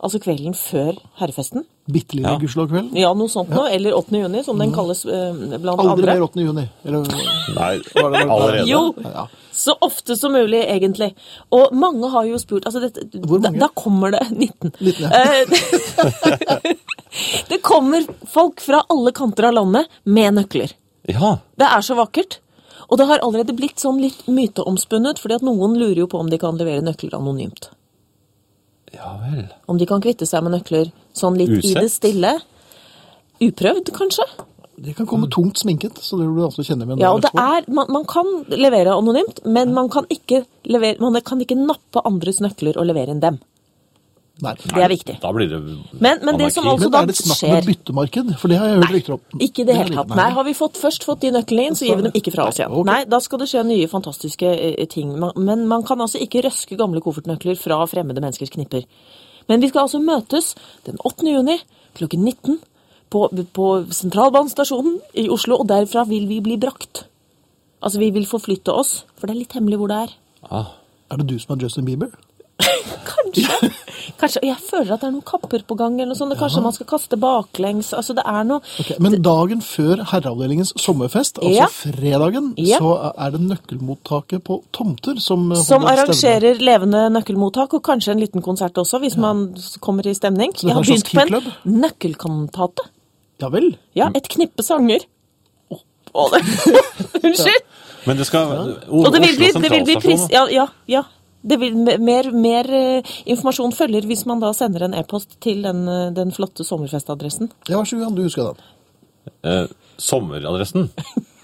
Speaker 4: Altså kvelden før herrefesten.
Speaker 1: Bitte lille
Speaker 2: Ja.
Speaker 1: gudskjelovkveld.
Speaker 4: Ja, noe sånt nå. Eller 8. juni, som den kalles eh, blant
Speaker 1: Mm. Aldri
Speaker 4: andre.
Speaker 1: mer 8. juni.
Speaker 4: (laughs)
Speaker 1: Eller,
Speaker 2: Nei,
Speaker 1: var det-
Speaker 2: allerede.
Speaker 4: Jo.
Speaker 1: Ja.
Speaker 4: Så ofte som mulig, egentlig. Og mange har jo spurt altså dette,
Speaker 1: Hvor mange?
Speaker 4: Da, da kommer det (laughs) 19.
Speaker 1: 19, ja.
Speaker 4: Eh, (laughs) det kommer folk fra alle kanter av landet med nøkler.
Speaker 2: Ja.
Speaker 4: Det er så vakkert. Og det har allerede blitt sånn litt myteomspunnet, fordi at noen lurer jo på om de kan levere nøkler anonymt.
Speaker 2: ja vel.
Speaker 4: Om de kan kvitte seg med nøkler sånn litt i
Speaker 2: Usett?
Speaker 4: det stille. Uprøvd, kanskje?
Speaker 1: De kan komme tungt sminket, så det vil du altså kjenne med.
Speaker 4: Ja, og det er, man, man kan levere anonymt, men man kan, ikke levere, man kan ikke nappe andres nøkler og levere inn dem.
Speaker 1: Nei.
Speaker 4: Det er viktig.
Speaker 2: Da blir det
Speaker 4: Men- men det som
Speaker 2: anarki.
Speaker 4: altså-
Speaker 1: Men
Speaker 4: da
Speaker 1: er det snakk om et
Speaker 4: skjer-
Speaker 1: byttemarked? For det har jeg hørt rykter om.
Speaker 4: Ikke i det hele
Speaker 1: er
Speaker 4: tatt.
Speaker 1: litt-
Speaker 4: Nei, har vi fått, først fått de nøklene inn, så gir vi dem ikke fra oss igjen.
Speaker 1: Ok.
Speaker 4: Nei, da skal det skje nye fantastiske eh, ting. Man- Men man kan altså ikke røske gamle koffertnøkler fra fremmede menneskers knipper. Men vi skal altså møtes den 8. juni klokken 19 på, på Sentralbanestasjonen i Oslo, og derfra vil vi bli brakt. Altså, vi vil forflytte oss, for det er litt hemmelig hvor det er.
Speaker 2: Ah,
Speaker 1: Er det du som er Justin Bieber? (laughs)
Speaker 4: Kanskje. Kanskje. Jeg føler at det er noen kapper på gang, eller noe sånt. og Kanskje man skal kaste baklengs. Altså, det er noe
Speaker 1: Ok, men dagen før herreavdelingens sommerfest, altså
Speaker 4: Ja.
Speaker 1: fredagen,
Speaker 4: Ja.
Speaker 1: så er det nøkkelmottaket på tomter som eh,
Speaker 4: Som
Speaker 1: holder stevne.
Speaker 4: arrangerer levende nøkkelmottak, og kanskje en liten konsert også, hvis man s- kommer i stemning.
Speaker 1: Så dette
Speaker 4: Jeg har
Speaker 1: er en slags
Speaker 4: begynt på en
Speaker 1: keyclub?
Speaker 4: nøkkelkantate.
Speaker 1: Ja vel.
Speaker 4: Ja, et knippe sanger. Å, det- Unnskyld!
Speaker 2: Men det skal
Speaker 4: Og det vil bli,
Speaker 2: Oslo
Speaker 4: det vil bli pris...
Speaker 2: sentralstasjon, da.
Speaker 4: Ja, ja. ja. Det vil, mer mer eh, informasjon følger hvis man da sender en e-post til den, eh, den flotte sommerfestadressen.
Speaker 1: Ja, vær så god, Johan, du husker den.
Speaker 2: Eh, sommeradressen.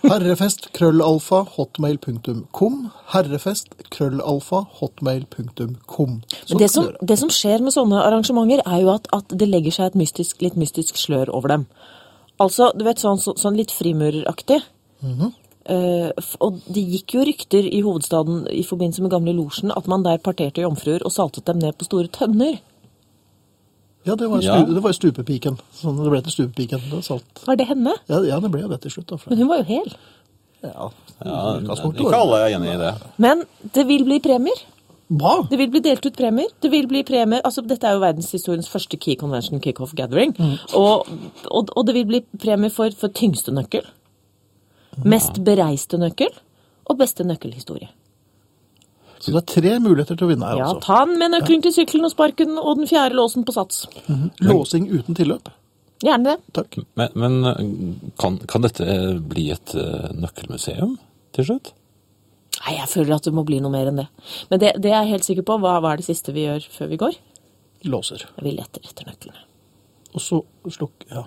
Speaker 1: Herrefest krøllalfa hotmail.com. Herrefest krøllalfa hotmail.com.
Speaker 4: Men det som, det som skjer med sånne arrangementer, er jo at, at det legger seg et mystisk, litt mystisk slør over dem. Altså, du vet, sånn, så, sånn litt frimureraktig. Eh, f- og det gikk jo rykter i hovedstaden i forbindelse med Gamle Losjen at man der parterte jomfruer og saltet dem ned på store tønner.
Speaker 1: Ja, det var, stu,
Speaker 2: Ja.
Speaker 1: det var stupepiken. Sånn det ble til stupepiken. Det er salt.
Speaker 4: Var det henne?
Speaker 1: Ja, ja, det ble jo det til slutt. Da, for,
Speaker 4: Men hun var jo hel.
Speaker 1: ja,
Speaker 2: Ja,
Speaker 1: utgangspunktet
Speaker 2: ikke
Speaker 1: var-
Speaker 2: alle er enig i det.
Speaker 4: Men det vil bli premier.
Speaker 1: Hva?
Speaker 4: Det vil bli delt ut premier. Det vil bli premier. Altså, dette er jo verdenshistoriens første Key Convention Kickoff Gathering. Og, og, og det vil bli premier for, for tyngste nøkkel, mest bereiste nøkkel og beste nøkkelhistorie.
Speaker 1: Så det er tre muligheter til å vinne her,
Speaker 4: Ja,
Speaker 1: altså.
Speaker 4: ta den med nøkkelen til sykkelen og sparken og den fjerde låsen på sats.
Speaker 1: Låsing uten tilløp.
Speaker 4: Gjerne det.
Speaker 1: Takk.
Speaker 2: Men, men eh, kan, kan dette eh, bli et eh, nøkkelmuseum til slutt? (laughs)
Speaker 4: Nei, jeg føler at det må bli noe mer enn det. Men det, det er jeg helt sikker på. Hva, hva er det siste vi gjør før vi går?
Speaker 1: Låser.
Speaker 4: Vi leter etter nøklene.
Speaker 1: Og så slukk. Ja.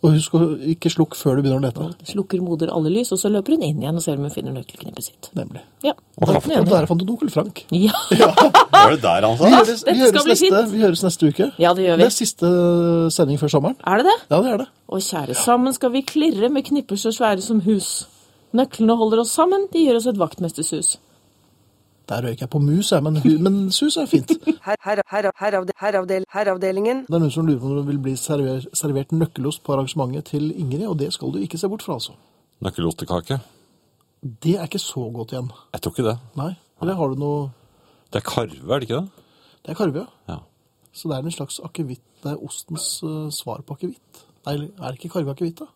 Speaker 1: Og husk å ikke slukk før du begynner å lete.
Speaker 4: Slukker moder alle lys, og så løper hun inn igjen og ser om hun finner nøkkelknippet sitt.
Speaker 1: Nemlig.
Speaker 4: Ja,
Speaker 2: Og
Speaker 4: det
Speaker 1: Og
Speaker 4: er
Speaker 1: der fant du onkel Frank.
Speaker 4: Ja,
Speaker 2: Var det der altså?
Speaker 1: Vi
Speaker 2: han sa?
Speaker 1: høres, vi
Speaker 4: dette skal
Speaker 1: høres,
Speaker 4: bli
Speaker 1: neste,
Speaker 4: fint.
Speaker 1: vi høres neste uke.
Speaker 4: Ja, det gjør vi.
Speaker 1: Det er siste sending før sommeren.
Speaker 4: er det det?
Speaker 1: Ja, det er det.
Speaker 4: Og kjære, sammen skal vi klirre med knipper så svære som hus. Nøklene holder oss sammen, de gir oss et vaktmestershus.
Speaker 1: Der røyker jeg på mus, jeg, men, hu- men sus er fint. Det
Speaker 3: Her, her, her, heravde, heravdel, herravdelingen.
Speaker 1: er noen som lurer på om det vil bli server, servert nøkkelost på arrangementet til Ingrid, og det skal du ikke se bort fra, altså.
Speaker 2: Nøkkelostekake?
Speaker 1: Det er ikke så godt igjen.
Speaker 2: Jeg tror ikke det.
Speaker 1: Nei. Eller har du noe
Speaker 2: Det er karve, er det ikke det?
Speaker 1: Det er karve, ja.
Speaker 2: Ja.
Speaker 1: Så det er en slags akevitt. Det er ostens eh, svar på akevitt. Nei, eller er det ikke karve akevitt, da?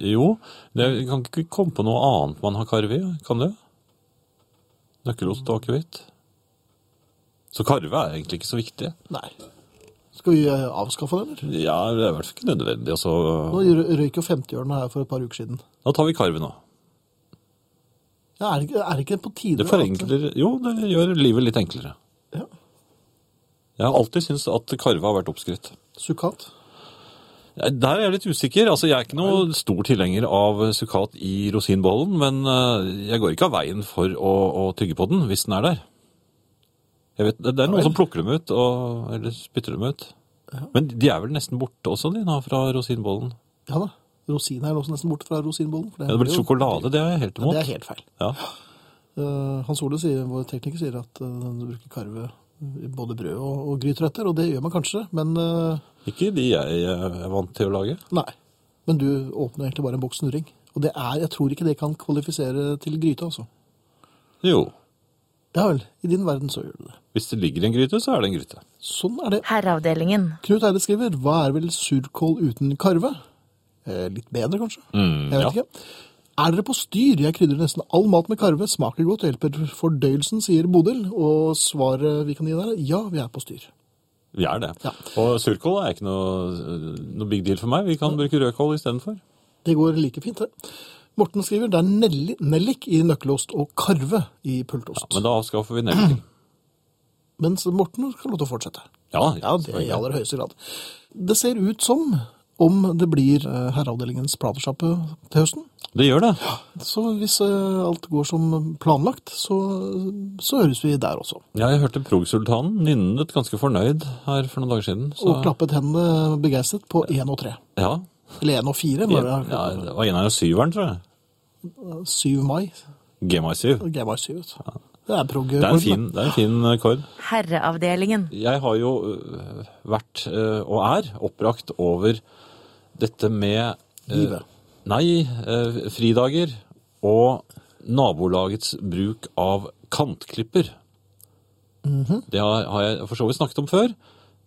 Speaker 2: Jo, det jeg kan ikke komme på noe annet man har karve i, kan du? Nøkkelost og akevitt. Så karve er egentlig ikke så viktig.
Speaker 1: Nei. Skal vi eh, avskaffe det, eller?
Speaker 2: Ja, det er i hvert fall ikke nødvendig. Altså.
Speaker 1: Nå rø- røyk jo 50-årene her for et par uker siden.
Speaker 2: Da tar vi karve nå.
Speaker 1: Ja, er, det, ikke- er det ikke på tide?
Speaker 2: Det
Speaker 1: at-
Speaker 2: forenkler Jo, det gjør livet litt enklere.
Speaker 1: Ja.
Speaker 2: Jeg har alltid syntes at karve har vært oppskrytt.
Speaker 1: Sukkat.
Speaker 2: Der er jeg litt usikker. Altså, jeg er ikke noe stor tilhenger av sukkat i rosinbollen, men eh, jeg går ikke av veien for å, å tygge på den hvis den er der. Jeg vet, det det er noen som plukker dem ut, og, eller spytter dem ut. Men de er vel nesten borte også, de nå, fra rosinbollen.
Speaker 1: Ja da. Rosin er også nesten borte fra rosinbollen. for
Speaker 2: Ja, det blir
Speaker 1: jo-
Speaker 2: sjokolade, det er jeg helt
Speaker 1: Ja,
Speaker 2: imot.
Speaker 1: det er helt feil.
Speaker 2: Ja.
Speaker 1: Eh, Hans Ole, sier, vår tekniker, sier at eh, du bruker karve i både brød og, og gryteretter, og det gjør man kanskje, men eh,
Speaker 2: Ikke de jeg eh, er vant til å lage.
Speaker 1: nei. Men du åpner egentlig bare en boks snurring. Og det er, jeg tror ikke det kan kvalifisere til gryte, altså.
Speaker 2: Jo,
Speaker 1: Ja vel, i din verden så gjør du det.
Speaker 2: hvis det ligger i en gryte, så er det en gryte.
Speaker 1: Sånn er det.
Speaker 5: Herreavdelingen.
Speaker 1: Knut Eide skriver, hva er vel surkål uten karve? Eh, litt bedre, kanskje? jeg vet
Speaker 2: ja.
Speaker 1: ikke. Er dere på styr? Jeg krydrer nesten all mat med karve. Smaker godt og hjelper fordøyelsen, sier Bodil. Og svaret vi kan gi der er ja, vi er på styr.
Speaker 2: Vi er det.
Speaker 1: Ja.
Speaker 2: Og surkål er ikke noe, eh, noe big deal for meg. Vi kan bruke rødkål istedenfor.
Speaker 1: Det går like fint, det. Morten skriver det er nelli- nellik i nøkkelost og karve i pultost.
Speaker 2: Men da avskaffer vi
Speaker 1: (clears throat)
Speaker 2: nelliken.
Speaker 1: Mens Morten skal lov til å fortsette.
Speaker 2: Ja,
Speaker 1: Ja, det i aller høyeste grad. Det ser ut som om det blir eh, herreavdelingens platesjappe til høsten.
Speaker 2: Det gjør det.
Speaker 1: Så hvis eh, alt går som planlagt, så, så høres vi der også.
Speaker 2: Ja, jeg hørte Progsultanen nynnet ganske fornøyd her for noen dager siden. så-
Speaker 1: Og klappet hendene begeistret på én og tre.
Speaker 2: Ja.
Speaker 1: Eller én og fire.
Speaker 2: ja,
Speaker 1: Var det,
Speaker 2: det var en av syveren, tror jeg.
Speaker 1: 7 mai.
Speaker 2: Gmi7.
Speaker 1: Gmar 7. vet du. Det er prog.
Speaker 2: Det er en fin, det er en fin eh, kord.
Speaker 5: Herreavdelingen.
Speaker 2: Jeg har jo øh, vært, øh, og er, oppbrakt over dette med øh,
Speaker 1: Livet.
Speaker 2: Nei, øh, fridager og nabolagets bruk av kantklipper.
Speaker 1: Mhm.
Speaker 2: Det har, har jeg for så vidt snakket om før,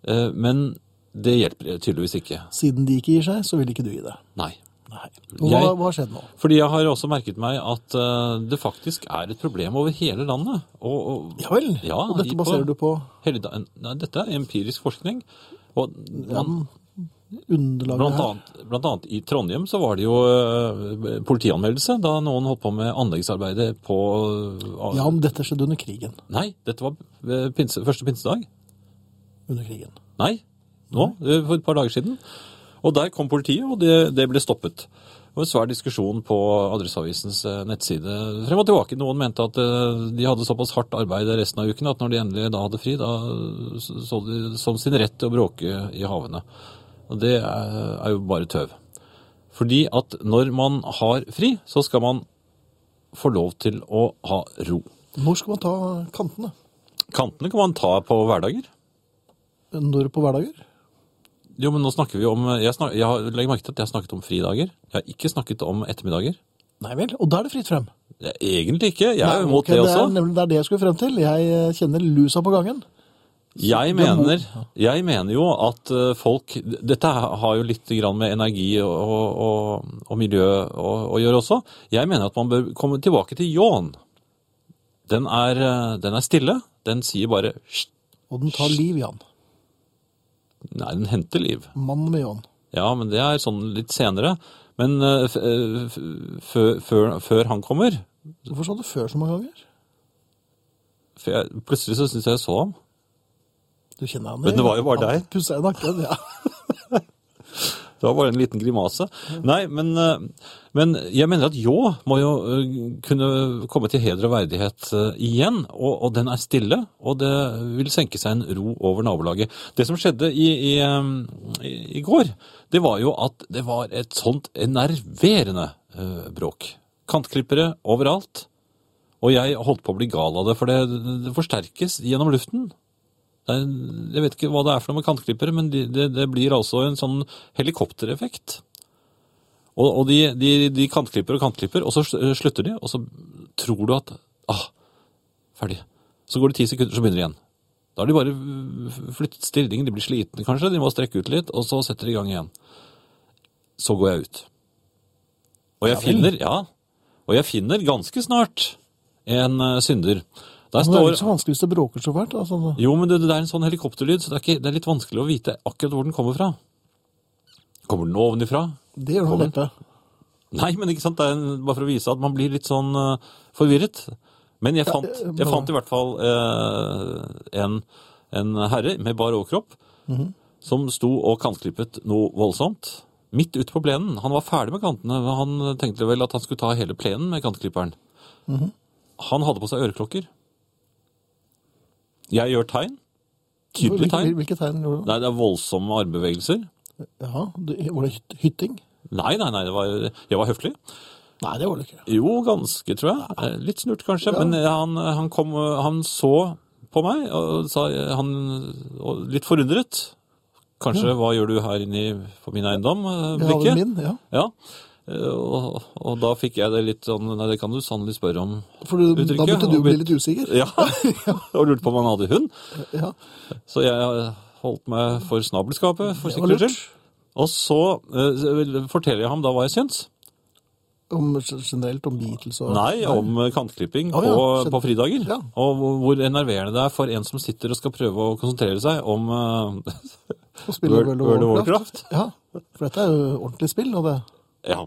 Speaker 2: eh, men det hjelper tydeligvis ikke.
Speaker 1: Siden de ikke gir seg, så vil ikke du gi det.
Speaker 2: Nei.
Speaker 1: Nei. Og Hva,
Speaker 2: Jeg-
Speaker 1: hva har skjedd nå?
Speaker 2: Fordi jeg har også merket meg at eh, det faktisk er et problem over hele landet. Og, og,
Speaker 1: Ja vel.
Speaker 2: Ja,
Speaker 1: og
Speaker 2: i-
Speaker 1: dette baserer du på
Speaker 2: Helligdag- Nei, dette er empirisk forskning. Og man,
Speaker 1: underlaget
Speaker 2: blant,
Speaker 1: her?
Speaker 2: annet, blant annet i Trondheim så var det jo eh, politianmeldelse da noen holdt på med anleggsarbeidet på eh,
Speaker 1: Ja, om dette skjedde under krigen.
Speaker 2: Nei, dette var eh, pinse, første pinsedag.
Speaker 1: Under krigen.
Speaker 2: Nei, nå, eh, for et par dager siden. Og der kom politiet, og det, det ble stoppet. Det var en svær diskusjon på Adresseavisens eh, nettside frem og tilbake. Noen mente at eh, de hadde såpass hardt arbeid resten av uken at når de endelig da hadde fri, da eh, så de det som sin rett til å bråke i havene. Og det er er jo bare tøv. Fordi at når man har fri, så skal man få lov til å ha ro.
Speaker 1: Når skal man ta kantene?
Speaker 2: Kantene kan man ta på hverdager.
Speaker 1: Når på hverdager?
Speaker 2: Jo, men nå snakker vi om eh, jeg, snak, jeg har- legger merke til at jeg har snakket om fridager. Jeg har ikke snakket om ettermiddager.
Speaker 1: Nei vel, og da er det fritt frem.
Speaker 2: Ja, Egentlig ikke. Jeg er jo
Speaker 1: Nei,
Speaker 2: imot
Speaker 1: ok,
Speaker 2: det
Speaker 1: Det er,
Speaker 2: også.
Speaker 1: nemlig, det er det jeg skulle frem til. Jeg eh, kjenner lusa på gangen.
Speaker 2: Jeg
Speaker 1: Du er imot,
Speaker 2: mener, jeg mener jo at eh, folk Dette har jo litt grann med energi og, og, og miljø å, å gjøre også. Jeg mener at man bør komme tilbake til ljåen. Den er, eh, den er stille. Den sier bare «Hysj».
Speaker 1: Og den tar liv, Jan.
Speaker 2: Nei, den henter liv.
Speaker 1: Mannen med ljåen.
Speaker 2: Ja, men det er sånn litt senere. Men eh, f- eh, f- før- før, før han kommer
Speaker 1: Hvorfor sa du før så mange ganger?
Speaker 2: for jeg, Plutselig så syns jeg jeg så ham.
Speaker 1: Du kjenner han
Speaker 2: Men det var jo bare
Speaker 1: Han
Speaker 2: deg.
Speaker 1: pusser deg i nakken,
Speaker 2: (laughs)
Speaker 1: ja.
Speaker 2: Det var bare en liten grimase. Nei, men, eh, men jeg mener at ljå må jo eh, kunne komme til heder og verdighet eh, igjen. Og, og den er stille, og det vil senke seg en ro over nabolaget. Det som skjedde i, i, eh, i, i går, det var jo at det var et sånt enerverende eh, bråk. Kantklippere overalt. Og jeg holdt på å bli gal av det, for det, det forsterkes gjennom luften. Det er, en- jeg vet ikke hva det er for noe med kantklippere, men de, det, det blir altså en sånn helikoptereffekt. Og, og de, de, de kantklipper og kantklipper, og så sl- eh, slutter de, og så tror du at ah, ferdig. Så går det ti sekunder, så begynner de igjen. Da har de bare øh, flyttet stillingen, de blir slitne kanskje, de må strekke ut litt, og så setter de i gang igjen. Så går jeg ut. Og jeg finner, ja, og jeg finner ganske snart en øh, synder. Der
Speaker 1: Men det er jo ikke så vanskelig hvis det bråker så fælt. Altså.
Speaker 2: jo, men det, det er en sånn helikopterlyd, så det er, ikke, det er litt vanskelig å vite akkurat hvor den kommer fra. Kommer den ovenifra?
Speaker 1: Det gjør noe
Speaker 2: Kommer.
Speaker 1: neppe.
Speaker 2: Nei, men ikke sant? Det er en, bare for å vise at man blir litt sånn eh, forvirret. Men jeg fant,
Speaker 1: eh,
Speaker 2: jeg
Speaker 1: hva-
Speaker 2: fant i hvert fall eh, en, en herre med bar overkropp som sto og kantklippet noe voldsomt. Midt ute på plenen. Han var ferdig med kantene. men Han tenkte vel at han skulle ta hele plenen med kantklipperen. Han hadde på seg øreklokker. Jeg gjør tegn. Tydelig
Speaker 1: Hvilke,
Speaker 2: tegn.
Speaker 1: hvilke tegn gjorde du?
Speaker 2: Nei, det er voldsomme armbevegelser.
Speaker 1: Ja, det- var det hyt- hytting?
Speaker 2: Nei, nei, nei, det var, jeg var høflig.
Speaker 1: Nei, det var det ikke.
Speaker 2: Jo, ganske, tror jeg. Eh, Litt snurt, kanskje. Men eh, han, han, kom, eh, han så på meg og sa eh, han, og litt forundret. Kanskje 'hva gjør du her inne i- på min eiendom?' eh,
Speaker 1: Jeg hadde
Speaker 2: blikket.
Speaker 1: min, ja.
Speaker 2: Ja. Eh, Og, og da fikk jeg det litt sånn Nei, det kan du sannelig spørre om.
Speaker 1: For du, da
Speaker 2: Uttrykket,
Speaker 1: begynte du å
Speaker 2: og
Speaker 1: bli
Speaker 2: blitt-
Speaker 1: litt usikker.
Speaker 2: Ja! (laughs) og lurte på om han hadde hund.
Speaker 1: Ja.
Speaker 2: Så jeg eh, holdt meg for snabelskapet, for
Speaker 1: Det var
Speaker 2: sikkerhets
Speaker 1: lurt.
Speaker 2: skyld. Og så eh, forteller jeg ham da hva jeg syns.
Speaker 1: Om, generelt om Beatles og
Speaker 2: Nei, om eh, kantklipping
Speaker 1: Å, ja,
Speaker 2: på,
Speaker 1: skjønner.
Speaker 2: på fridager.
Speaker 1: Ja.
Speaker 2: Og hvor- hvor enerverende det er for en som sitter og skal prøve å konsentrere seg om eh,
Speaker 1: å spille (laughs) World
Speaker 2: World-
Speaker 1: of
Speaker 2: World of
Speaker 1: Warcraft. Ja, for dette er jo ordentlig spill, og det
Speaker 2: Ja.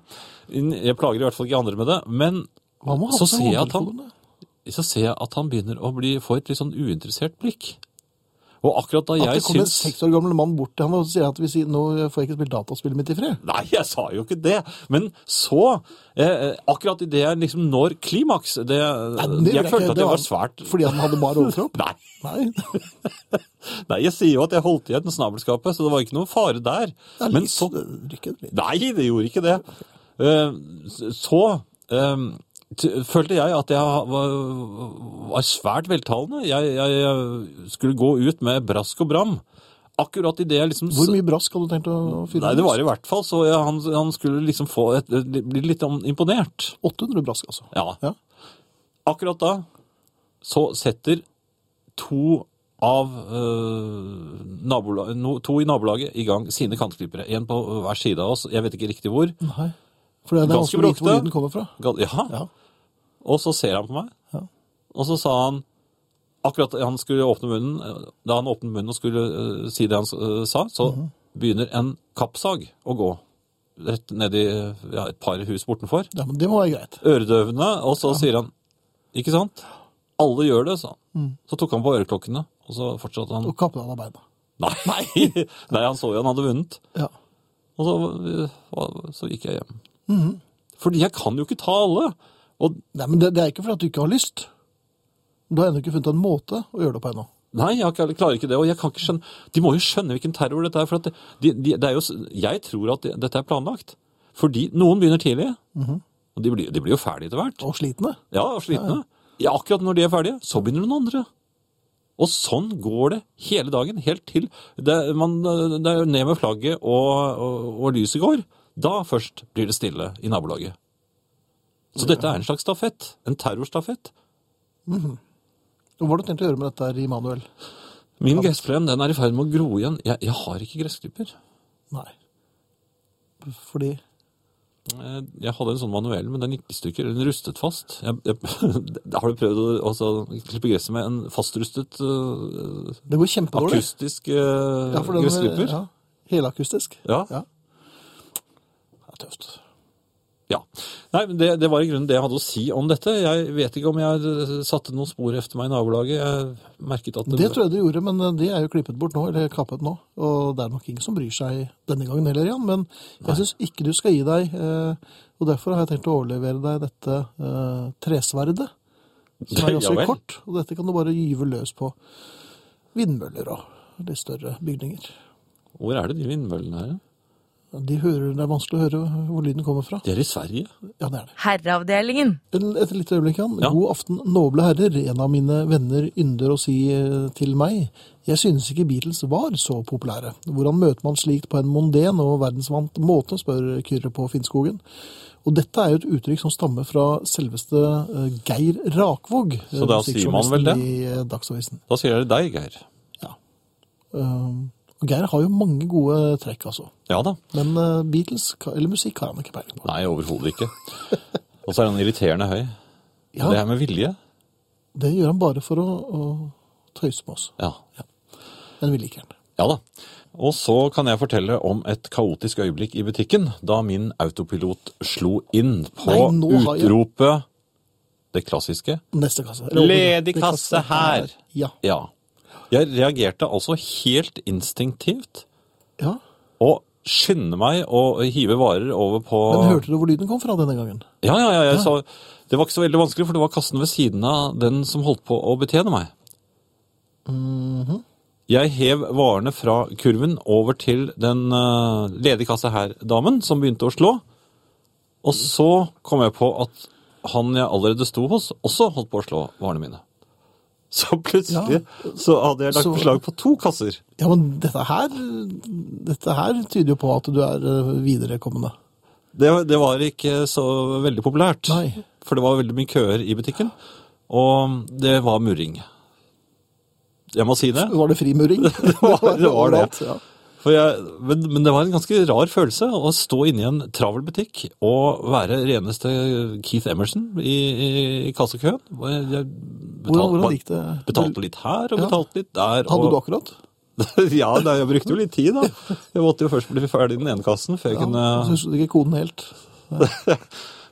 Speaker 2: Jeg plager i hvert fall ikke andre med det. Men
Speaker 1: Hva må
Speaker 2: så
Speaker 1: på
Speaker 2: ser, jeg at han,
Speaker 1: hodetelefonene?
Speaker 2: så ser jeg at han begynner å bli, få et litt sånn uinteressert blikk. Og akkurat da
Speaker 1: At det
Speaker 2: jeg
Speaker 1: kom en
Speaker 2: syns
Speaker 1: seks år gammel mann bort til han og sier at vi sier, nå får jeg ikke spille dataspillet mitt i fred.
Speaker 2: Nei, jeg sa jo ikke det! Men så eh, Akkurat idet jeg liksom når klimaks det,
Speaker 1: det gjorde jeg
Speaker 2: Jeg følte
Speaker 1: ikke.
Speaker 2: at
Speaker 1: Det
Speaker 2: jeg
Speaker 1: var-
Speaker 2: var svært
Speaker 1: Fordi han hadde bare
Speaker 2: (laughs)
Speaker 1: overkropp.
Speaker 2: Nei.
Speaker 1: Nei,
Speaker 2: Nei, jeg sier jo at jeg holdt igjen snabelskapet, så det var ikke noe fare der.
Speaker 1: det er
Speaker 2: Men
Speaker 1: litt,
Speaker 2: så
Speaker 1: rykket litt.
Speaker 2: Nei, det gjorde ikke det. Eh, s- Så eh, t- følte jeg at jeg var, var svært veltalende. Jeg, jeg skulle gå ut med brask og bram. Akkurat idet jeg liksom
Speaker 1: Hvor mye brask hadde du tenkt å fyre?
Speaker 2: Nei, det
Speaker 1: løs?
Speaker 2: var i hvert fall så jeg, han, han skulle liksom få et, bli litt om- imponert.
Speaker 1: 800 brask, altså.
Speaker 2: Ja.
Speaker 1: Ja.
Speaker 2: Akkurat da så setter to av eh, nabola- no, to i nabolaget i gang sine kantklippere. Én på hver side av oss. Jeg vet ikke riktig hvor.
Speaker 1: Nei. For det er
Speaker 2: Ganske
Speaker 1: vanskelig å vite hvor
Speaker 2: bråkete.
Speaker 1: lyden kommer fra.
Speaker 2: Gal- Ja.
Speaker 1: Ja.
Speaker 2: Og så ser han på meg.
Speaker 1: Ja.
Speaker 2: Og så sa han Akkurat da han skulle åpne munnen, eh, da han åpnet munnen og skulle eh, si det han eh, sa, så
Speaker 1: Mhm.
Speaker 2: begynner en kappsag å gå rett ned i ja, et par hus bortenfor.
Speaker 1: ja, men det må være greit.
Speaker 2: Øredøvende. Og så sier han Ikke sant? Alle gjør det, sa han. Så tok han på øreklokkene, og så fortsatte han.
Speaker 1: Og kappe deg av beina.
Speaker 2: Nei, (laughs) nei, han så jo han hadde vunnet.
Speaker 1: Ja.
Speaker 2: Og så, eh, så gikk jeg hjem. For jeg kan jo ikke ta alle. Og
Speaker 1: Nei, men det, det er ikke fordi at du ikke har lyst. Du har ennå ikke funnet en måte å gjøre det på ennå.
Speaker 2: Nei, jeg har ikke- jeg klarer ikke det. Og jeg kan ikke skjønne De må jo skjønne hvilken terror dette er. For at det, de, de, det er jo, s- jeg tror at det, dette er planlagt. Fordi noen begynner tidlig. Og de blir, de blir jo ferdige etter hvert.
Speaker 1: Og slitne.
Speaker 2: Ja, og slitne. Ja, akkurat når de er ferdige, så begynner noen andre. Og sånn går det hele dagen, helt til det, man, det er jo ned med flagget og, og, og lyset går. Da først blir det stille i nabolaget. Så dette er en slags stafett. En terrorstafett.
Speaker 1: Og Hva har du tenkt å gjøre med dette her, Immanuel?
Speaker 2: Min gressplenen den er i ferd med å gro igjen. Jeg, jeg har ikke gressklipper.
Speaker 1: Nei. Fordi
Speaker 2: Eh, Jeg hadde en sånn manuell, men den gikk i stykker. Den rustet fast. Jeg, (laughs) jeg, har du prøvd å altså, klippe gresset med en fastrustet eh,
Speaker 1: det går kjempedårlig.
Speaker 2: akustisk eh,
Speaker 1: Ja, for den-
Speaker 2: gressklipper?
Speaker 1: Ja, helakustisk.
Speaker 2: Ja.
Speaker 1: ja. Det er tøft.
Speaker 2: Ja. Nei, men det, det var i grunnen det jeg hadde å si om dette. Jeg vet ikke om jeg eh, satte noen spor efter meg i nabolaget. Jeg merket at
Speaker 1: Det tror jeg du gjorde, men de er jo klippet bort nå, eller kappet nå. Og det er nok ingen som bryr seg denne gangen heller, Jan. Men jeg syns ikke du skal gi deg. eh, Og derfor har jeg tenkt å overlevere deg dette eh, tresverdet, som er
Speaker 2: (laughs) Ja
Speaker 1: ganske
Speaker 2: vel.
Speaker 1: kort. Og dette kan du bare gyve løs på vindmøller og litt større bygninger.
Speaker 2: Hvor er det de vindmøllene her?
Speaker 1: De hører, det er vanskelig å høre hvor lyden kommer fra.
Speaker 2: De er i Sverige.
Speaker 1: Ja, det er det.
Speaker 5: Herreavdelingen.
Speaker 1: Et, et lite øyeblikk, Jan.
Speaker 2: Ja.
Speaker 1: God aften, noble herrer. En av mine venner ynder å si eh, til meg jeg synes ikke Beatles var så populære. Hvordan møter man slikt på en mondén og verdensvant måte, spør Kyrre på Finnskogen. Og dette er jo et uttrykk som stammer fra selveste eh, Geir Rakvåg.
Speaker 2: Så da
Speaker 1: eh,
Speaker 2: sier man vel det?
Speaker 1: musikkjournalisten I eh, Dagsavisen.
Speaker 2: Da sier jeg deg, Geir.
Speaker 1: Ja. Um, og Geir har jo mange gode trekk, altså.
Speaker 2: Ja da.
Speaker 1: Men eh, Beatles, ka- eller musikk, har han ikke peiling på.
Speaker 2: Nei, overhodet ikke. Og så er han irriterende høy.
Speaker 1: Ja.
Speaker 2: Det er med vilje.
Speaker 1: Det gjør han bare for å, å tøyse med oss.
Speaker 2: Ja.
Speaker 1: Men vi liker han.
Speaker 2: ja da. Og så kan jeg fortelle om et kaotisk øyeblikk i butikken da min autopilot slo inn på
Speaker 1: Nei, nå har jeg-
Speaker 2: utropet det klassiske
Speaker 1: Neste kasse. Eller,
Speaker 2: Ledig kasse her!
Speaker 1: Ja.
Speaker 2: Ja. Jeg reagerte altså helt instinktivt
Speaker 1: ja.
Speaker 2: og skynde meg å hive varer over på
Speaker 1: Men hørte du hvor lyden kom fra denne gangen?
Speaker 2: Ja, ja, ja. Jeg sa, det var ikke så veldig vanskelig, for det var kassen ved siden av den som holdt på å betjene meg. Jeg hev varene fra kurven over til den uh, ledige kassa her-damen, som begynte å slå. Og så kom jeg på at han jeg allerede sto hos, også holdt på å slå varene mine. Så plutselig så hadde jeg lagt
Speaker 1: så-
Speaker 2: beslag på to kasser.
Speaker 1: Ja, men dette her, dette her tyder jo på at du er eh, viderekommende.
Speaker 2: Det, det var ikke så veldig populært.
Speaker 1: Nei.
Speaker 2: For det var veldig mye køer i butikken. Og det var murring. Jeg må si det.
Speaker 1: Var det
Speaker 2: (laughs)
Speaker 1: frimuring? det
Speaker 2: var- det var det.
Speaker 1: Ja.
Speaker 2: For jeg, men, men det var en ganske rar følelse å stå inne i en travel butikk og være reneste Keith Emerson i, i, i kassekøen. Og Jeg, jeg
Speaker 1: Hvordan,
Speaker 2: betalte,
Speaker 1: hvordan gikk det?
Speaker 2: betalte litt her og
Speaker 1: Ja.
Speaker 2: betalte litt der.
Speaker 1: Hadde
Speaker 2: og,
Speaker 1: du akkurat?
Speaker 2: (laughs) ja, nei, jeg brukte jo litt tid, da. Jeg måtte jo først bli ferdig i den ene kassen før jeg
Speaker 1: Ja,
Speaker 2: kunne
Speaker 1: så husker du ikke koden helt.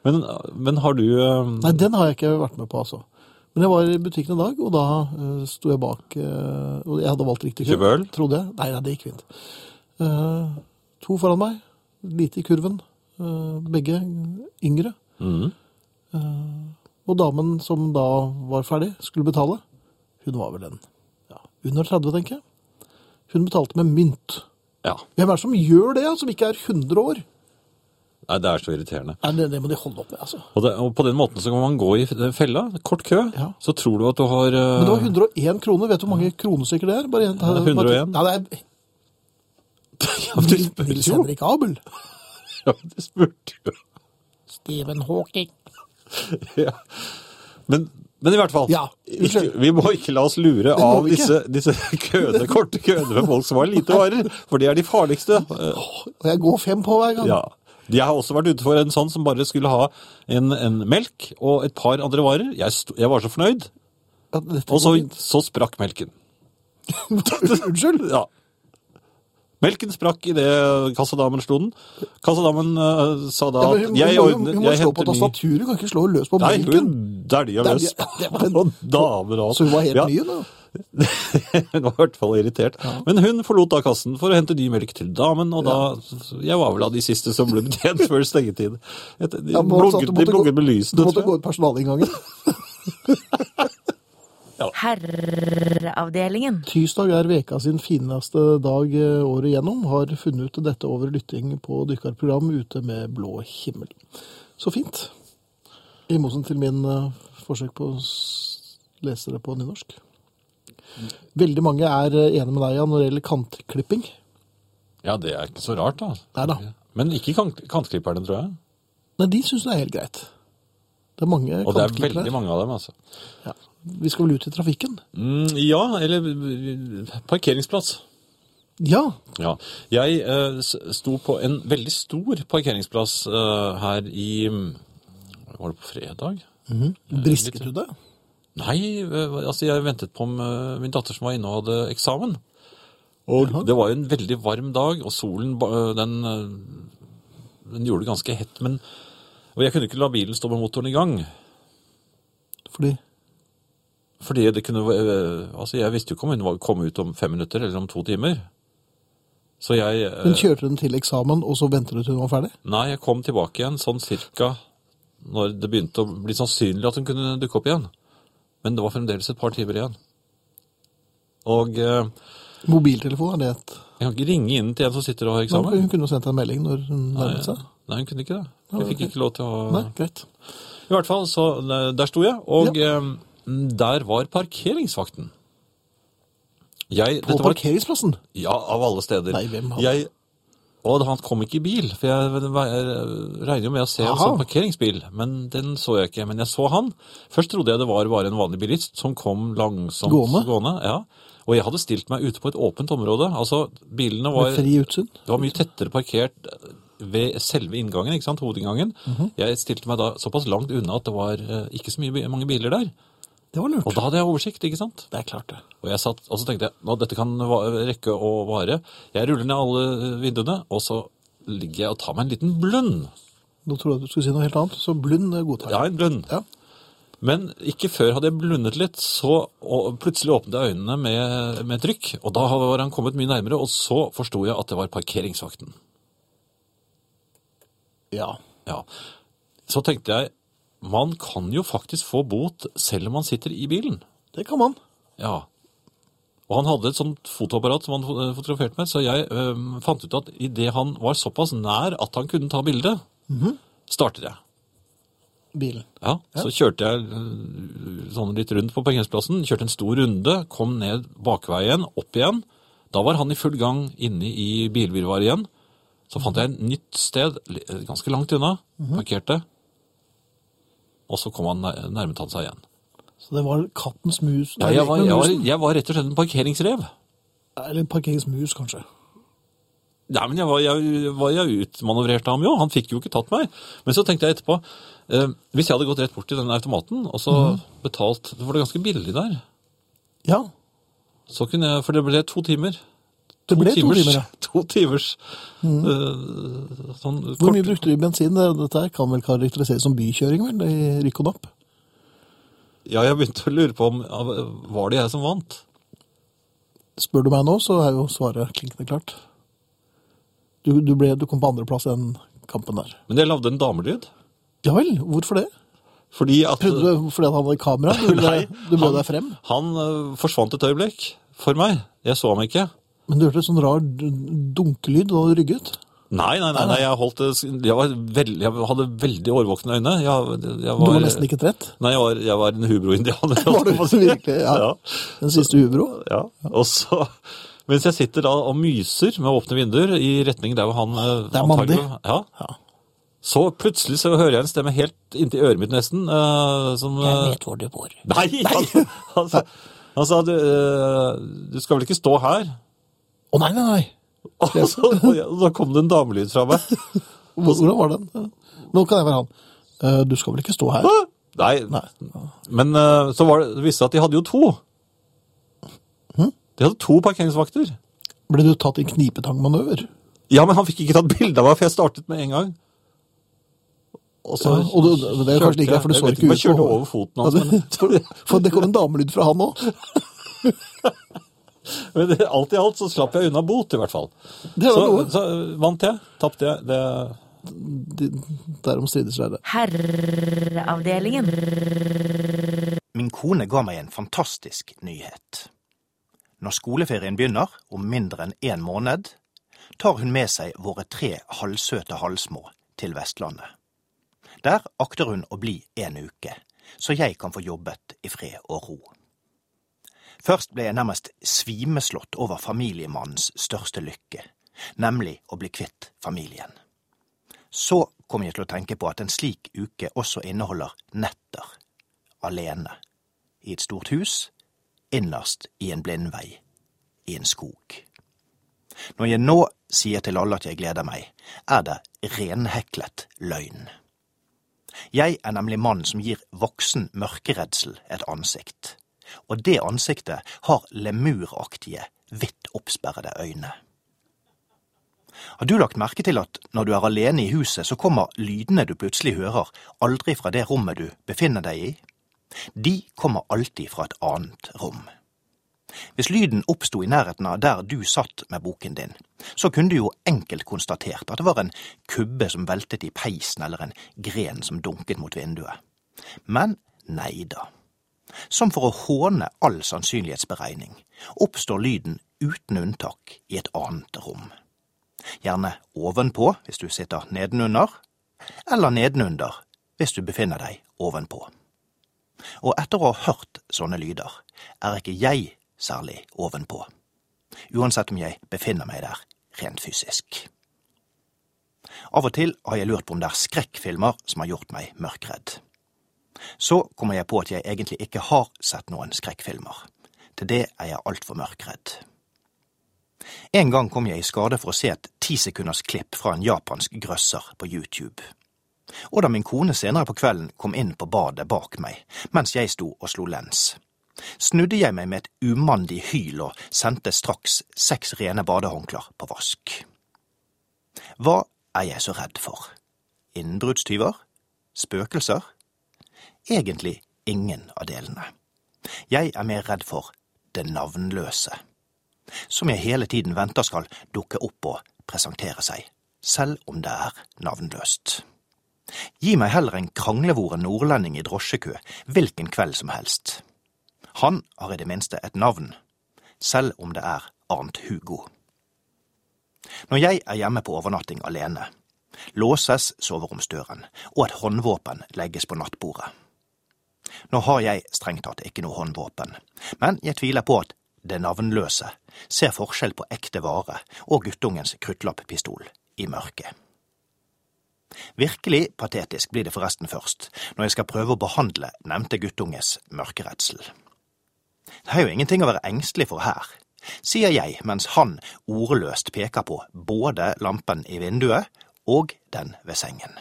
Speaker 2: men, men har du eh,
Speaker 1: Nei, den har jeg ikke vært med på, altså. Men jeg var i butikken en dag, og da uh, sto jeg bak eh, Og jeg hadde valgt riktig kurv.
Speaker 2: Kjøpe øl?
Speaker 1: Trodde jeg. Nei, nei, det gikk fint. Eh, to foran meg, lite i kurven. eh, begge yngre.
Speaker 2: mm,
Speaker 1: Eh, og damen som da var ferdig, skulle betale. Hun var vel en ja, under 30, tenker jeg. Hun betalte med mynt.
Speaker 2: Ja.
Speaker 1: Hvem er det som gjør det, som ikke er 100 år?
Speaker 2: Nei, det er så irriterende.
Speaker 1: Nei, det, det må de holde opp med, altså.
Speaker 2: Og, det, og på den måten så kan man gå i fella, kort kø,
Speaker 1: Ja.
Speaker 2: så tror du at du har eh,
Speaker 1: Men det var
Speaker 2: (laughs)
Speaker 1: 101 kroner. Vet du hvor mange kronestykker det er? Bare en,
Speaker 2: Ja, 101.
Speaker 1: Nei, det er
Speaker 2: du spurte
Speaker 1: Nils
Speaker 2: jo!
Speaker 1: Henrik Abel.
Speaker 2: Ja, du spurte jo.
Speaker 1: Stephen Hawking.
Speaker 2: Ja. Men, men i hvert fall,
Speaker 1: Ja,
Speaker 2: ikke,
Speaker 1: unnskyld.
Speaker 2: vi må ikke la oss lure
Speaker 1: må
Speaker 2: av
Speaker 1: vi ikke.
Speaker 2: disse, disse (laughs) køene, korte køene med folk som har lite varer, for de er de farligste. Eh,
Speaker 1: Og jeg går fem på hver gang.
Speaker 2: Ja. Jeg har også vært ute for en sånn som bare skulle ha en, en melk og et par andre varer. Jeg, sto, jeg var så fornøyd,
Speaker 1: Ja, dette
Speaker 2: og så,
Speaker 1: går
Speaker 2: så sprakk melken.
Speaker 1: fint. (laughs) Unnskyld?
Speaker 2: Ja. Melken sprakk idet kassadamen slo den. Kassadamen eh, sa da
Speaker 1: Ja, men
Speaker 2: at
Speaker 1: hun,
Speaker 2: jeg
Speaker 1: hun, må
Speaker 2: ordner
Speaker 1: jo- hun må
Speaker 2: jeg
Speaker 1: slå på
Speaker 2: henter ny-
Speaker 1: tastaturet, hun kan ikke slå løs på
Speaker 2: Nei,
Speaker 1: melken.
Speaker 2: hun dælja løs (laughs)
Speaker 1: Dælja-
Speaker 2: på damer og alt.
Speaker 1: Så hun var helt
Speaker 2: Ja.
Speaker 1: ny, da?
Speaker 2: (laughs) Hun var i hvert fall irritert. Men hun forlot da kassen for å hente ny melk til damen, og da Jeg var vel av de siste som ble betjent før stengetid. Et, de
Speaker 1: Ja, men altså,
Speaker 2: blunket
Speaker 1: du
Speaker 2: de
Speaker 1: måtte gå-
Speaker 2: blunket med
Speaker 1: Du
Speaker 2: lysene,
Speaker 1: måtte
Speaker 2: tror
Speaker 1: gå
Speaker 2: jeg.
Speaker 1: ut personalinngangen.
Speaker 5: Herreavdelingen.
Speaker 1: Tirsdag er veka sin fineste dag eh, året gjennom. Har funnet ut dette over lytting på dykkerprogram ute med blå himmel. Så fint. I motsetning til min eh, forsøk på å s- lese det på nynorsk. Veldig mange er eh, enige med deg Jan, når det gjelder kantklipping.
Speaker 2: Ja, det er ikke så rart, da.
Speaker 1: Nei da.
Speaker 2: Men ikke kant kantklipperne, tror jeg.
Speaker 1: Nei, de syns det er helt greit. Det er mange
Speaker 2: Og det er
Speaker 1: kantklippere.
Speaker 2: veldig mange av dem, altså.
Speaker 1: Ja. Vi skal vel ut i trafikken?
Speaker 2: Mm, ja, eller eh, parkeringsplass.
Speaker 1: Ja.
Speaker 2: Ja. Jeg eh, s- sto på en veldig stor parkeringsplass eh, her i mm, Var det på fredag?
Speaker 1: Brisket du det?
Speaker 2: Nei, eh, altså jeg ventet på om, eh, min datter som var inne og hadde eksamen. Og det var jo en veldig varm dag, og solen ba- den, eh, den gjorde det ganske hett. Men, og jeg kunne ikke la bilen stå med motoren i gang.
Speaker 1: Fordi
Speaker 2: Fordi det kunne, eh, altså jeg visste jo ikke om hun var- kom ut om fem minutter eller om to timer. Så jeg eh,
Speaker 1: hun kjørte den til eksamen, og så ventet du til hun var ferdig?
Speaker 2: Nei, jeg kom tilbake igjen sånn cirka når det begynte å bli sannsynlig at hun kunne dukke opp igjen. Men det var fremdeles et par timer igjen. Og eh,
Speaker 1: Mobiltelefon, er det et
Speaker 2: jeg kan ikke ringe inn til en som sitter og har
Speaker 1: Men
Speaker 2: eksamen. Eh,
Speaker 1: Hun kunne jo sendt deg en melding når hun nærmet seg.
Speaker 2: Nei, hun kunne ikke det. Jeg fikk
Speaker 1: ok.
Speaker 2: ikke lov til å
Speaker 1: Nei, greit.
Speaker 2: I hvert fall, så eh, der sto jeg, og eh, der var parkeringsvakten. Jeg,
Speaker 1: På
Speaker 2: dette var-
Speaker 1: parkeringsplassen?
Speaker 2: Ja, av alle steder.
Speaker 1: Nei, hvem hadde-
Speaker 2: jeg, og han kom ikke i bil, for jeg ve- regner jo med å se en
Speaker 1: Aha.
Speaker 2: sånn parkeringsbil. Men den så jeg ikke. Men jeg så han. Først trodde jeg det var bare en vanlig bilist som kom langsomt
Speaker 1: Gående?
Speaker 2: ja. Og jeg hadde stilt meg ute på et åpent område. Altså, bilene var
Speaker 1: Med fri utsyn?
Speaker 2: det var mye tettere parkert ved selve inngangen, ikke sant, hovedinngangen.
Speaker 1: Mhm.
Speaker 2: Jeg stilte meg da såpass langt unna at det var eh, ikke så mye, bi- mange biler der.
Speaker 1: Det var
Speaker 2: Og
Speaker 1: lurt.
Speaker 2: da hadde jeg oversikt, ikke sant.
Speaker 1: Det er klart, det.
Speaker 2: Og, jeg satt, og så tenkte jeg nå dette kan va- rekke å vare. Jeg ruller ned alle eh, vinduene, og så ligger jeg og tar meg en liten blund.
Speaker 1: Nå trodde jeg at du skulle si noe helt annet, så blund eh, godtar
Speaker 2: Ja,
Speaker 1: jeg.
Speaker 2: en blund.
Speaker 1: Ja.
Speaker 2: Men ikke før hadde jeg blundet litt, så og plutselig åpnet jeg øynene med, med trykk. Og da var han kommet mye nærmere, og så forsto jeg at det var parkeringsvakten.
Speaker 1: Ja.
Speaker 2: Ja. Så tenkte jeg, man kan jo faktisk få bot selv om man sitter i bilen.
Speaker 1: Det kan man.
Speaker 2: Ja. Og han hadde et sånt fotoapparat som han fo- eh, fotograferte med, så jeg øhm, fant ut at idet han var såpass nær at han kunne ta bilde, startet jeg.
Speaker 1: Bilen.
Speaker 2: Ja, Så kjørte jeg øh, sånn litt rundt på parkeringsplassen, kjørte en stor runde, kom ned bakveien, opp igjen. Da var han i full gang inne i bilvirvaret igjen. Så fant jeg et nytt sted, li- eh, ganske langt unna, parkerte. Og så kom han, nær- nærmet han seg igjen.
Speaker 1: Så det var kattens mus
Speaker 2: Ja,
Speaker 1: Nei,
Speaker 2: jeg, var,
Speaker 1: leken
Speaker 2: jeg,
Speaker 1: med
Speaker 2: var,
Speaker 1: musen.
Speaker 2: jeg var rett og slett en parkeringsrev.
Speaker 1: Eller parkeringsmus, kanskje.
Speaker 2: Nei, men jeg var, jeg, var jeg utmanøvrerte ham jo. Han fikk jo ikke tatt meg. Men så tenkte jeg etterpå eh, Hvis jeg hadde gått rett bort til den automaten og så
Speaker 1: Mhm.
Speaker 2: betalt For det var ganske billig der.
Speaker 1: Ja.
Speaker 2: Så kunne jeg, For det ble to timer.
Speaker 1: Det ble to timer, ja.
Speaker 2: (laughs)
Speaker 1: Mhm.
Speaker 2: To timers eh, sånn
Speaker 1: Hvor
Speaker 2: kort-
Speaker 1: mye brukte du i bensin? Dette her kan vel karakteriseres som bykjøring, vel? I rykk og napp.
Speaker 2: Ja, jeg begynte å lure på om ja, Var det jeg som vant?
Speaker 1: Spør du meg nå, så er jo svaret klinkende klart. Du, du, ble, du kom på andreplass i den kampen der.
Speaker 2: Men jeg lagde en damelyd.
Speaker 1: Ja vel, hvorfor det?
Speaker 2: Fordi at
Speaker 1: Prøvde du fordi at han hadde kamera? Du, ville, du bød deg frem?
Speaker 2: han eh, forsvant et øyeblikk for meg. Jeg så ham ikke.
Speaker 1: Men du hørte sånn rar d- dunkelyd da du rygget?
Speaker 2: Nei, nei, nei, nei jeg, holdt, det- jeg, var veld, jeg hadde veldig årvåkne øyne. Jeg, jeg
Speaker 1: Du
Speaker 2: var,
Speaker 1: var nesten ikke
Speaker 2: (laughs)
Speaker 1: trett?
Speaker 2: Nei, jeg var, jeg var en hubro-indianer.
Speaker 1: (laughs) Var du virkelig? Ja.
Speaker 2: Ja.
Speaker 1: Den siste hubro?
Speaker 2: ja. Og så, mens jeg sitter da og myser med åpne vinduer i retning der hvor han eh,
Speaker 1: Det er mandig.
Speaker 2: antagelig- Ja.
Speaker 1: Ja.
Speaker 2: Så plutselig så hører jeg en stemme helt inntil øret mitt nesten, eh, som eh, (laughs)
Speaker 1: hvor du bor.
Speaker 2: Nei! Han, han, sa- han sa du, eh, du skal vel ikke stå her?
Speaker 1: Å nei, nei, nei.
Speaker 2: Og så, (laughs) og jeg- og da kom det en damelyd fra meg.
Speaker 1: Hvor- Hvordan var den? Nå kan jeg være han. Eh, Du skal vel ikke stå her?
Speaker 2: Nei,
Speaker 1: Nei.
Speaker 2: Men eh, så var det, det viste seg at de hadde jo to.
Speaker 1: Hm?
Speaker 2: De hadde to parkeringsvakter.
Speaker 1: Ble du tatt i en knipetangmanøver?
Speaker 2: Ja, men han fikk ikke tatt bilde av meg, for jeg startet med en gang. Og
Speaker 1: Ja, og du- det er jo kanskje like greit, for du
Speaker 2: jeg
Speaker 1: så
Speaker 2: vet
Speaker 1: ikke
Speaker 2: om
Speaker 1: ut
Speaker 2: Jeg
Speaker 1: (laughs)
Speaker 2: kjørte
Speaker 1: på-
Speaker 2: over foten hans, men
Speaker 1: For det kom en damelyd fra han òg.
Speaker 2: Men det- alt i alt så slapp jeg unna bot, i hvert fall.
Speaker 1: Det var
Speaker 2: så,
Speaker 1: noe.
Speaker 2: så vant jeg, tapte jeg. Det,
Speaker 1: De, derom strides lærde.
Speaker 5: Herreavdelingen.
Speaker 6: Min kone ga meg en fantastisk nyhet. Når skoleferien begynner, om mindre enn én måned, tar hun med seg våre tre halvsøte halvsmå til Vestlandet. Der akter hun å bli en uke, så jeg kan få jobbet i fred og ro. Først ble jeg nærmest svimeslått over familiemannens største lykke, nemlig å bli kvitt familien. Så kom jeg til å tenke på at en slik uke også inneholder netter alene. I et stort hus, innerst i en blindvei, i en skog. Når jeg nå sier til alle at jeg gleder meg, er det renheklet løgn. Jeg er nemlig mannen som gir voksen mørkeredsel et ansikt, og det ansiktet har lemuraktige, vidt oppsperrede øyne. Har du lagt merke til at når du er alene i huset, så kommer lydene du plutselig hører, aldri fra det rommet du befinner deg i? De kommer alltid fra et annet rom. Hvis lyden oppsto i nærheten av der du satt med boken din, så kunne du jo enkelt konstatert at det var en kubbe som veltet i peisen eller en gren som dunket mot vinduet. Men nei da. Som for å håne all sannsynlighetsberegning oppstår lyden uten unntak i et annet rom. Gjerne ovenpå hvis du sitter nedenunder, eller nedenunder hvis du befinner deg ovenpå og etter å ha hørt sånne lyder, er ikke jeg særlig ovenpå. Uansett om jeg befinner meg der rent fysisk. Av og til har jeg lurt på om det er skrekkfilmer som har gjort meg mørkredd. Så kommer jeg på at jeg egentlig ikke har sett noen skrekkfilmer. Til det er jeg altfor mørkredd. En gang kom jeg i skade for å se et tisekunders klipp fra en japansk grøsser på YouTube og da min kone senere på kvelden kom inn på badet bak meg, mens jeg sto og slo lens. Snudde jeg meg med et umandig hyl og sendte straks seks rene badehåndklær på vask. Hva er jeg så redd for? Innbruddstyver? Spøkelser? Egentlig ingen av delene. Jeg er mer redd for det navnløse, som jeg hele tiden venter skal dukke opp og presentere seg, selv om det er navnløst. Gi meg heller en kranglevoren nordlending i drosjekø hvilken kveld som helst. Han har i det minste et navn, selv om det er Arnt Hugo. Når jeg er hjemme på overnatting alene, låses soveromsdøren, og et håndvåpen legges på nattbordet. Nå har jeg strengt tatt ikke noe håndvåpen, men jeg tviler på at det navnløse ser forskjell på ekte vare og guttungens kruttlappistol i mørket. Virkelig patetisk blir det forresten først, når jeg skal prøve å behandle nevnte guttunges mørkeredsel. Det er jo ingenting å være engstelig for her, sier jeg mens han ordløst peker på både lampen i vinduet og den ved sengen.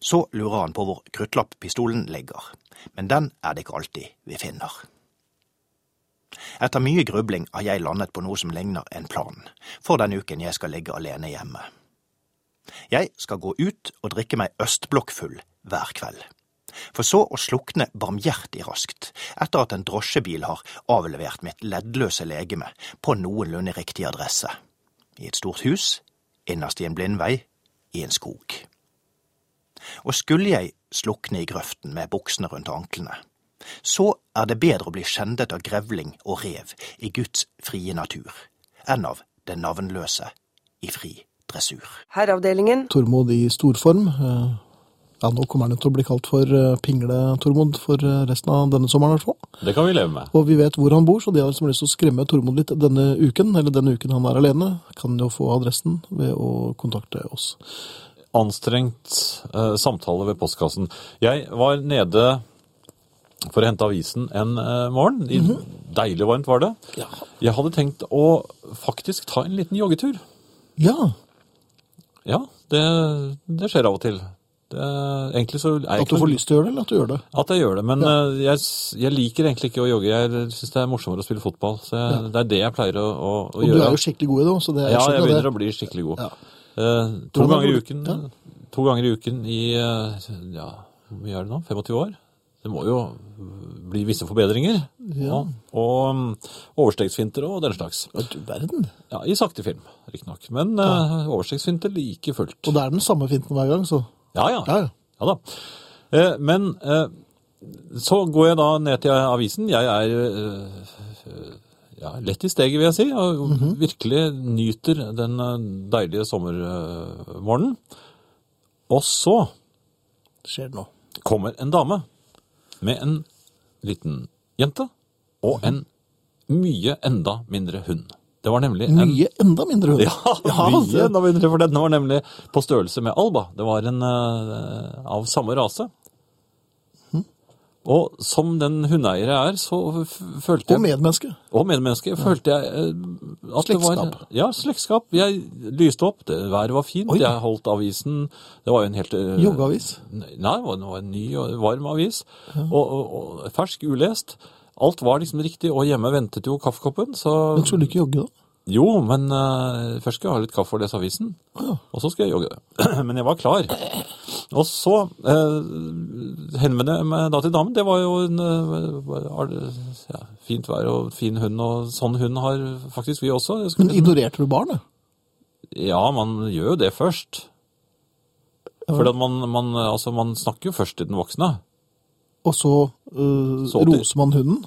Speaker 6: Så lurer han på hvor kruttlapppistolen ligger, men den er det ikke alltid vi finner. Etter mye grubling har jeg landet på noe som ligner en plan, for den uken jeg skal ligge alene hjemme. Jeg skal gå ut og drikke meg østblokkfull hver kveld. For så å slukne barmhjertig raskt etter at en drosjebil har avlevert mitt leddløse legeme på noenlunde riktig adresse. I et stort hus, innerst i en blindvei, i en skog. Og skulle jeg slukne i grøften med buksene rundt anklene, så er det bedre å bli skjendet av grevling og rev i Guds frie natur enn av det navnløse i fri dressur.
Speaker 3: Herreavdelingen.
Speaker 1: Tormod i storform. Eh, Ja, nå kommer han jo til å bli kalt for eh, Pingle-Tormod for eh, resten av denne sommeren, i hvert fall.
Speaker 2: det kan vi leve med.
Speaker 1: Og vi vet hvor han bor, så de har liksom lyst til å skremme Tormod litt denne uken, eller denne uken han er alene, kan jo få adressen ved å kontakte oss.
Speaker 2: Anstrengt eh, samtale ved postkassen. Jeg var nede for å hente avisen en eh, morgen. I,
Speaker 1: Mhm.
Speaker 2: Deilig varmt var det. Jeg hadde tenkt å faktisk ta en liten joggetur.
Speaker 1: Ja,
Speaker 2: Ja, det, det skjer av og til. Det, egentlig så er jeg
Speaker 1: at du
Speaker 2: ikke
Speaker 1: får
Speaker 2: noe-
Speaker 1: lyst til å gjøre det, eller at du gjør det.
Speaker 2: At jeg gjør det, men eh, jeg, s- jeg liker egentlig ikke å jogge. Jeg syns det er morsommere å spille fotball. Så jeg, Det er det jeg pleier å, å, å
Speaker 1: Og du
Speaker 2: gjøre.
Speaker 1: er jo skikkelig god i det, så det er
Speaker 2: ja, jeg
Speaker 1: skjønner
Speaker 2: begynner
Speaker 1: det.
Speaker 2: å bli skikkelig god.
Speaker 1: Ja.
Speaker 2: Eh, to,
Speaker 1: Hvordan har
Speaker 2: ganger i
Speaker 1: du-
Speaker 2: uken,
Speaker 1: ja.
Speaker 2: to ganger i uken i eh, ja, hvor mye er det nå? 25 år? Det må jo bli visse forbedringer. Ja. Og um, overstegsfinter og den slags.
Speaker 1: Ja, du verden.
Speaker 2: Ja, I sakte film, riktignok. Men eh, overstegsfinter like fullt.
Speaker 1: Og det er den samme finten hver gang, så.
Speaker 2: Ja, ja.
Speaker 1: Ja, ja.
Speaker 2: Ja da. Eh, Men eh, så går jeg da ned til avisen. Jeg er eh, ja, lett i steget, vil jeg si. Og virkelig nyter den eh, deilige sommermorgenen. Og så
Speaker 1: Skjer det nå.
Speaker 2: kommer en dame med en liten jente og en mye enda mindre hund. Det var nemlig en
Speaker 1: Mye enda mindre hund.
Speaker 2: (laughs) ja, mye enda mindre, for den var nemlig på størrelse med Alba. Det var en eh, av samme rase.
Speaker 1: Hm?
Speaker 2: Og som den hundeeiere er, så f- følte
Speaker 1: Og
Speaker 2: jeg
Speaker 1: medmenneske.
Speaker 2: og medmenneske, følte jeg eh, at det
Speaker 1: Slektskap.
Speaker 2: var Ja, slektskap. Jeg lyste opp, det, været var fint,
Speaker 1: Oi.
Speaker 2: jeg holdt avisen. Det var jo en helt eh,
Speaker 1: Joggeavis.
Speaker 2: Nei, det var- det var en ny og varm avis. Og, og, og fersk, ulest. Alt var liksom riktig, og hjemme ventet jo kaffekoppen, så
Speaker 1: Men skulle du ikke jogge, da?
Speaker 2: jo, men eh, først skal jeg ha litt kaffe og lese avisen. Og så skal jeg jogge. (clears throat) men jeg var klar. Og så eh, henvendte jeg meg da til damen. Det var jo en eh, er det- ja, fint vær og fin hund, og sånn hund har faktisk vi også. Jeg
Speaker 1: Men
Speaker 2: skulle,
Speaker 1: ignorerte du barnet?
Speaker 2: ja, man gjør jo det først. For at man, man, altså, man snakker jo først til den voksne. (laughs)
Speaker 1: Og så, øh,
Speaker 2: Så til-
Speaker 1: roser man hunden?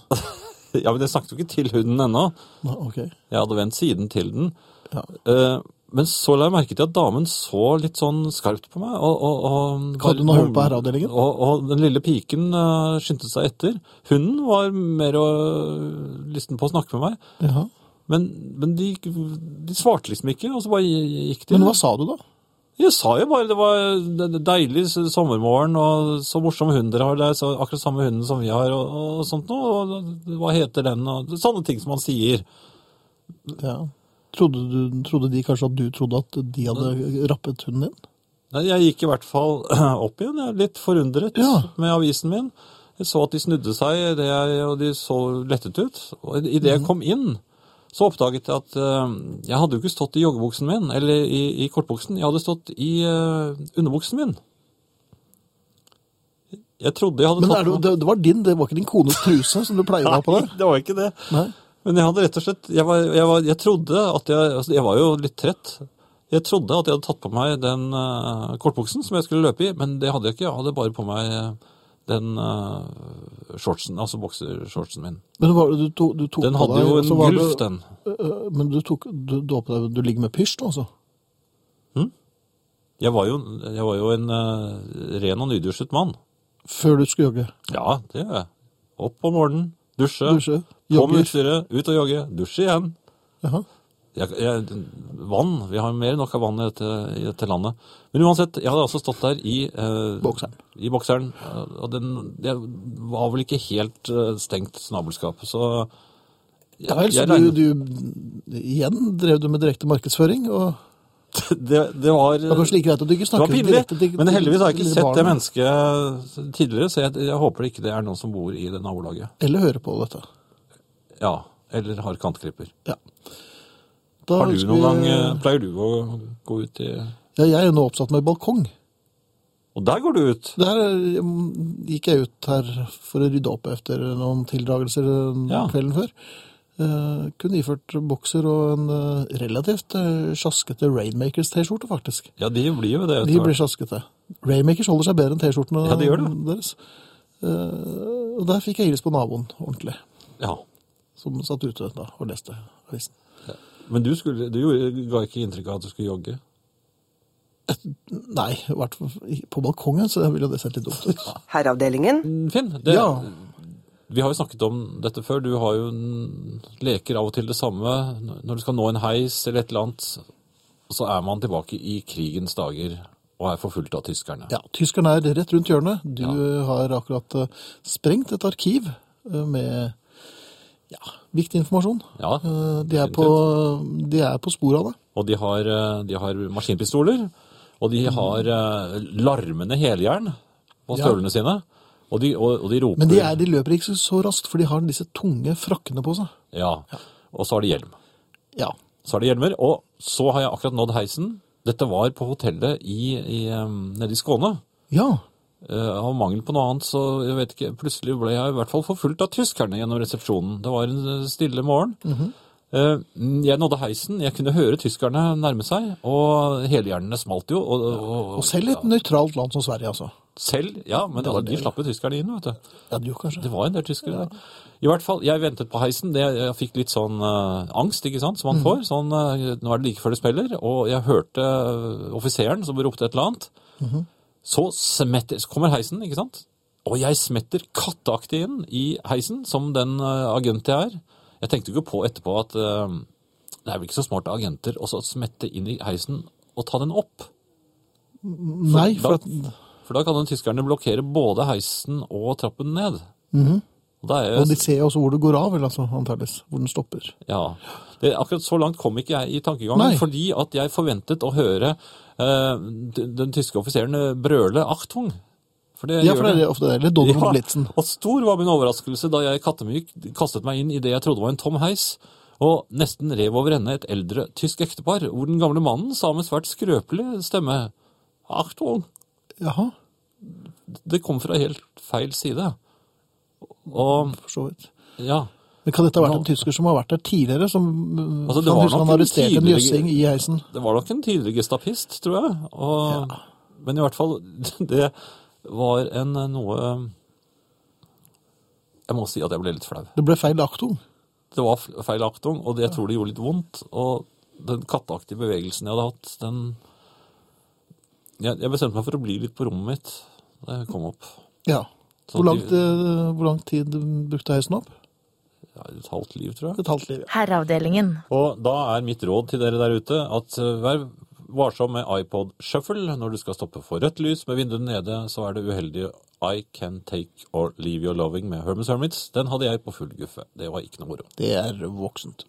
Speaker 2: Ja, men jeg snakket jo ikke til hunden ennå.
Speaker 1: Nei, ok.
Speaker 2: Jeg hadde vendt siden til den.
Speaker 1: Ja.
Speaker 2: Eh, men så la jeg merke til at damen så litt sånn skarpt på meg. Og, og, og
Speaker 1: Hadde hun hørt på herreavdelingen?
Speaker 2: Og, og den lille piken eh, skyndte seg etter. Hunden var mer øh, lysten på å snakke med meg.
Speaker 1: Jaha.
Speaker 2: Men, men de, de svarte liksom ikke, og så bare gikk de.
Speaker 1: Men hva sa du da?
Speaker 2: Jeg sa jo bare det var en deilig s- sommermorgen, og så morsom hund dere har. Det er så akkurat samme hunden som vi har, og, og sånt noe. Og hva heter den, og sånne ting som man sier.
Speaker 1: Ja. Trodde, du, trodde de kanskje at du trodde at de hadde rappet hunden din?
Speaker 2: Nei, Jeg gikk i hvert fall (clears throat) opp igjen, jeg er litt forundret
Speaker 1: Ja.
Speaker 2: med avisen min. Jeg så at de snudde seg, det jeg, og de så lettet ut. Og idet
Speaker 1: Mhm.
Speaker 2: jeg kom inn, så oppdaget jeg at eh, jeg hadde jo ikke stått i joggebuksen min, eller i, i kortbuksen, jeg hadde stått i eh, underbuksen min. Jeg trodde jeg hadde
Speaker 1: Men
Speaker 2: tatt
Speaker 1: er du,
Speaker 2: på-
Speaker 1: det, det var din, det var ikke din kones truse som du pleier å ha på deg?
Speaker 2: (laughs) Nei, det var ikke det.
Speaker 1: Nei.
Speaker 2: Men jeg hadde rett og slett Jeg, var, jeg, var, jeg trodde at jeg altså, Jeg var jo litt trett. Jeg trodde at jeg hadde tatt på meg den eh, kortbuksen som jeg skulle løpe i, men det hadde jeg ikke. Jeg hadde bare på meg eh, den eh, shortsen, altså boksershortsen min.
Speaker 1: Men var det, du, to, du tok
Speaker 2: Den
Speaker 1: på
Speaker 2: hadde
Speaker 1: deg,
Speaker 2: jo
Speaker 1: og
Speaker 2: en
Speaker 1: så var
Speaker 2: gulf,
Speaker 1: du,
Speaker 2: den.
Speaker 1: øh, men du tok du, du, har på deg, du ligger med pysj nå, altså?
Speaker 2: Jeg var jo, jeg var jo en eh, ren og nydusjet mann.
Speaker 1: Før du skulle jogge?
Speaker 2: Ja, det gjør jeg. Opp om morgenen, dusje,
Speaker 1: Dusje,
Speaker 2: på med
Speaker 1: jogger.
Speaker 2: utstyret, ut og jogge, dusje igjen.
Speaker 1: Jaha.
Speaker 2: Jeg, jeg, vann. Vi har mer enn nok av vann i dette, i dette landet. Men uansett, jeg hadde altså stått der i eh,
Speaker 1: Bokseren.
Speaker 2: I bokseren eh, og den, det var vel ikke helt eh, stengt snabelskap, så jeg,
Speaker 1: Ja, vel, så
Speaker 2: jeg
Speaker 1: du,
Speaker 2: regnet- (laughs)
Speaker 1: du Igjen drev du med direkte markedsføring, og
Speaker 2: det, det var
Speaker 1: det var kanskje like greit at du ikke
Speaker 2: det var
Speaker 1: snakket
Speaker 2: pinlig,
Speaker 1: direkte til
Speaker 2: men heldigvis har jeg ikke
Speaker 1: til
Speaker 2: sett det
Speaker 1: barna,
Speaker 2: mennesket tidligere, så jeg, jeg håper det ikke det er noen som bor i det nabolaget.
Speaker 1: Eller høre på dette.
Speaker 2: Ja, eller har kantklipper.
Speaker 1: Ja. Da
Speaker 2: Har du
Speaker 1: skal
Speaker 2: noen gang,
Speaker 1: vi-
Speaker 2: eh, pleier du å gå ut i
Speaker 1: Ja, jeg er nå oppsatt med balkong.
Speaker 2: Og der går du ut!
Speaker 1: Der mm, gikk jeg ut her for å rydde opp etter noen tildragelser eh,
Speaker 2: Ja.
Speaker 1: kvelden før. Eh, kunne iført bokser og en eh, relativt eh, sjaskete Rainmakers-T-skjorte, faktisk.
Speaker 2: Ja, de blir jo det. etter
Speaker 1: De
Speaker 2: hvert.
Speaker 1: blir sjaskete. Raymakers holder seg bedre enn T-skjortene
Speaker 2: Ja, de gjør det.
Speaker 1: deres. Eh, og der fikk jeg iris på naboen ordentlig,
Speaker 2: Ja.
Speaker 1: som satt ute da og leste avisen.
Speaker 2: Men du, skulle, du gjorde- ga ikke inntrykk av at du skulle jogge?
Speaker 1: Nei, i hvert fall på balkongen, så ville det sett litt dumt
Speaker 2: (laughs)
Speaker 1: ut.
Speaker 3: Herreavdelingen.
Speaker 2: Finn, det,
Speaker 1: Ja.
Speaker 2: vi har jo snakket om dette før. Du har jo en, leker av og til det samme. Når du skal nå en heis eller et eller annet, så er man tilbake i krigens dager og er forfulgt av tyskerne.
Speaker 1: Ja, tyskerne er rett rundt hjørnet. Du har akkurat eh, sprengt et arkiv eh, med ja, viktig informasjon.
Speaker 2: Ja,
Speaker 1: Eh, de, er
Speaker 2: definitivt.
Speaker 1: på, de er på sporet av det.
Speaker 2: Og de har, eh, de har maskinpistoler, og de har eh, larmende heljern
Speaker 1: Mm. Ja.
Speaker 2: på støvlene sine. Og de, og, og de roper
Speaker 1: Men de, er, de løper ikke så raskt, for de har disse tunge frakkene på seg.
Speaker 2: Ja. Og så har de hjelm.
Speaker 1: Ja,
Speaker 2: Så er det hjelmer, og så har jeg akkurat nådd heisen. Dette var på hotellet i, i, eh, ehm, nede i Skåne.
Speaker 1: ja.
Speaker 2: Eh, eh, av mangel på noe annet, så jeg vet ikke, plutselig ble jeg i hvert fall forfulgt av tyskerne gjennom resepsjonen. Det var en eh, stille morgen. Eh, Jeg nådde heisen, jeg kunne høre tyskerne nærme seg, og helhjernene smalt jo. Og, og,
Speaker 1: Og selv et nøytralt land som Sverige, altså.
Speaker 2: selv, ja, men altså, de slapp jo tyskerne inn, vet du.
Speaker 1: Ja, du kanskje.
Speaker 2: Det var en del tyskere der. I hvert fall, jeg ventet på heisen. Det, jeg fikk litt sånn eh, angst, ikke sant, som
Speaker 1: Mm.
Speaker 2: man får. Sånn, eh, nå er det like før det smeller. Og jeg hørte eh, offiseren som ropte et eller annet.
Speaker 1: Mhm.
Speaker 2: Så smetter, så kommer heisen, ikke sant. Og jeg smetter katteaktig inn i heisen, som den eh, agent jeg er. Jeg tenkte jo ikke på etterpå at eh, det er vel ikke så smart av agenter å så smette inn i heisen og ta den opp.
Speaker 1: Nei, for at
Speaker 2: da, for da kan den tyskerne blokkere både heisen og trappen ned. Og da er jeg
Speaker 1: Mhm. Og de ser jo også hvor det går av, vel, altså, antageligvis. Hvor den stopper.
Speaker 2: Ja. Det, akkurat så langt kom ikke jeg i tankegangen,
Speaker 1: Nei.
Speaker 2: fordi at jeg forventet å høre eh, den, den tyske offiseren eh, brøle 'Achtung'. For det
Speaker 1: Ja,
Speaker 2: gjør
Speaker 1: for det er
Speaker 2: den.
Speaker 1: det ofte det. Eller Donald
Speaker 2: (laughs) Ja,
Speaker 1: Blitzen.
Speaker 2: Og stor var min overraskelse da jeg kattemyk kastet meg inn i det jeg trodde var en tom heis, og nesten rev over ende et eldre tysk ektepar, hvor den gamle mannen sa med svært skrøpelig stemme 'Achtung'.
Speaker 1: Jaha,
Speaker 2: Det kom fra helt feil side. Og
Speaker 1: for så vidt.
Speaker 2: ja.
Speaker 1: Men kan dette ha vært
Speaker 2: Nå-
Speaker 1: en tysker som har vært der tidligere, som øh,
Speaker 2: Altså, det
Speaker 1: kan
Speaker 2: var
Speaker 1: huske
Speaker 2: nok
Speaker 1: han
Speaker 2: en
Speaker 1: arresterte en
Speaker 2: tidligere-
Speaker 1: jøssing i heisen?
Speaker 2: Det var nok en tidligere gestapist, tror jeg. Og, Men i hvert fall, (laughs) det var en eh, noe Jeg må si at jeg ble litt flau.
Speaker 1: Det ble feil aktung.
Speaker 2: Det var f- feil aktung, og det jeg tror det gjorde litt vondt. Og den katteaktige bevegelsen jeg hadde hatt, den Jeg, jeg bestemte meg for å bli litt på rommet mitt da jeg kom opp.
Speaker 1: Ja.
Speaker 2: Så
Speaker 1: Hvor,
Speaker 2: de-
Speaker 1: langt, øh, hvor lang tid brukte heisen opp?
Speaker 2: Ja, et halvt liv, tror jeg.
Speaker 1: Et halvt liv, ja.
Speaker 5: Herreavdelingen.
Speaker 2: Og da er mitt råd til dere der ute at eh, vær varsom med iPod Shuffle. Når du skal stoppe for rødt lys med vinduet nede, så er det uheldige I Can Take Or Leave Your Loving med Hermes Hermits. Den hadde jeg på full guffe. Det var ikke noe moro.
Speaker 1: Det er voksent.